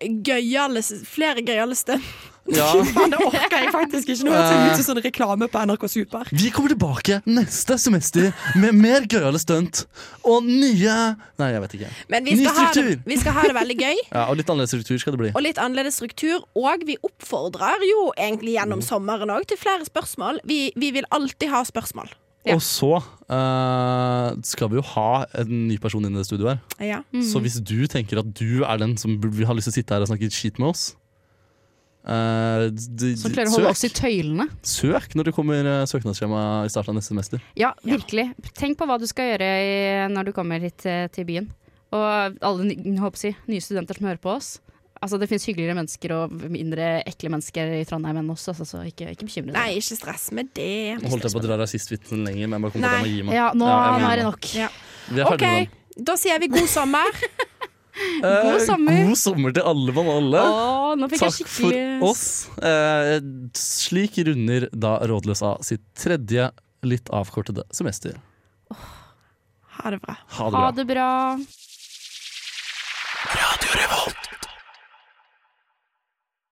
gøyale Flere gøyale stunt. *laughs*
Ja,
Men det orker jeg faktisk ikke. Nå høres jeg ut som sånn reklame på NRK Super.
Vi kommer tilbake neste semester med mer gøyale stunt og nye Nei, jeg vet ikke.
Men vi
Ny
skal, ha det,
struktur.
vi skal ha det veldig gøy,
Ja, og litt annerledes struktur skal det bli.
og litt annerledes struktur. Og vi oppfordrer jo egentlig gjennom sommeren òg til flere spørsmål. Vi, vi vil alltid ha spørsmål.
Og så eh, skal vi jo ha en ny person inn i det studioet her.
Ja.
Mhm.
Så hvis du tenker at du er den som burde- har lyst til å sitte her og snakke skit med oss eh, d-
Som
d-
klarer å holde oss i tøylene.
søk når det kommer eh, søknadsskjema i starten av neste semester.
Ja, virkelig. Tenk på hva du skal gjøre i, når du kommer hit eh, til byen. Og alle ny- jeg håper å si, nye studenter som hører på oss. Altså, det fins hyggeligere mennesker og mindre ekle mennesker i Trondheim enn oss, altså, så ikke, ikke bekymre deg.
Nei, ikke stress med det.
Nå holdt jeg på å dra rasistvitsen lenger, men jeg bare kom på
Nei.
at jeg må gi meg.
Ja, nå,
Ja, jeg
nå
må
er
gi
det
meg.
nok.
Ja.
Vi er
OK,
ferdige med
da sier vi god sommer.
den. Eh,
god sommer.
God sommer til alle mann og alle.
Å, nå fikk jeg
Takk for
skikkelig
oss. Eh, slik runder da Rådløs A sitt tredje litt avkortede semester.
Ha det bra.
Ha det
Ha
bra.
det bra.
Radio Revolt.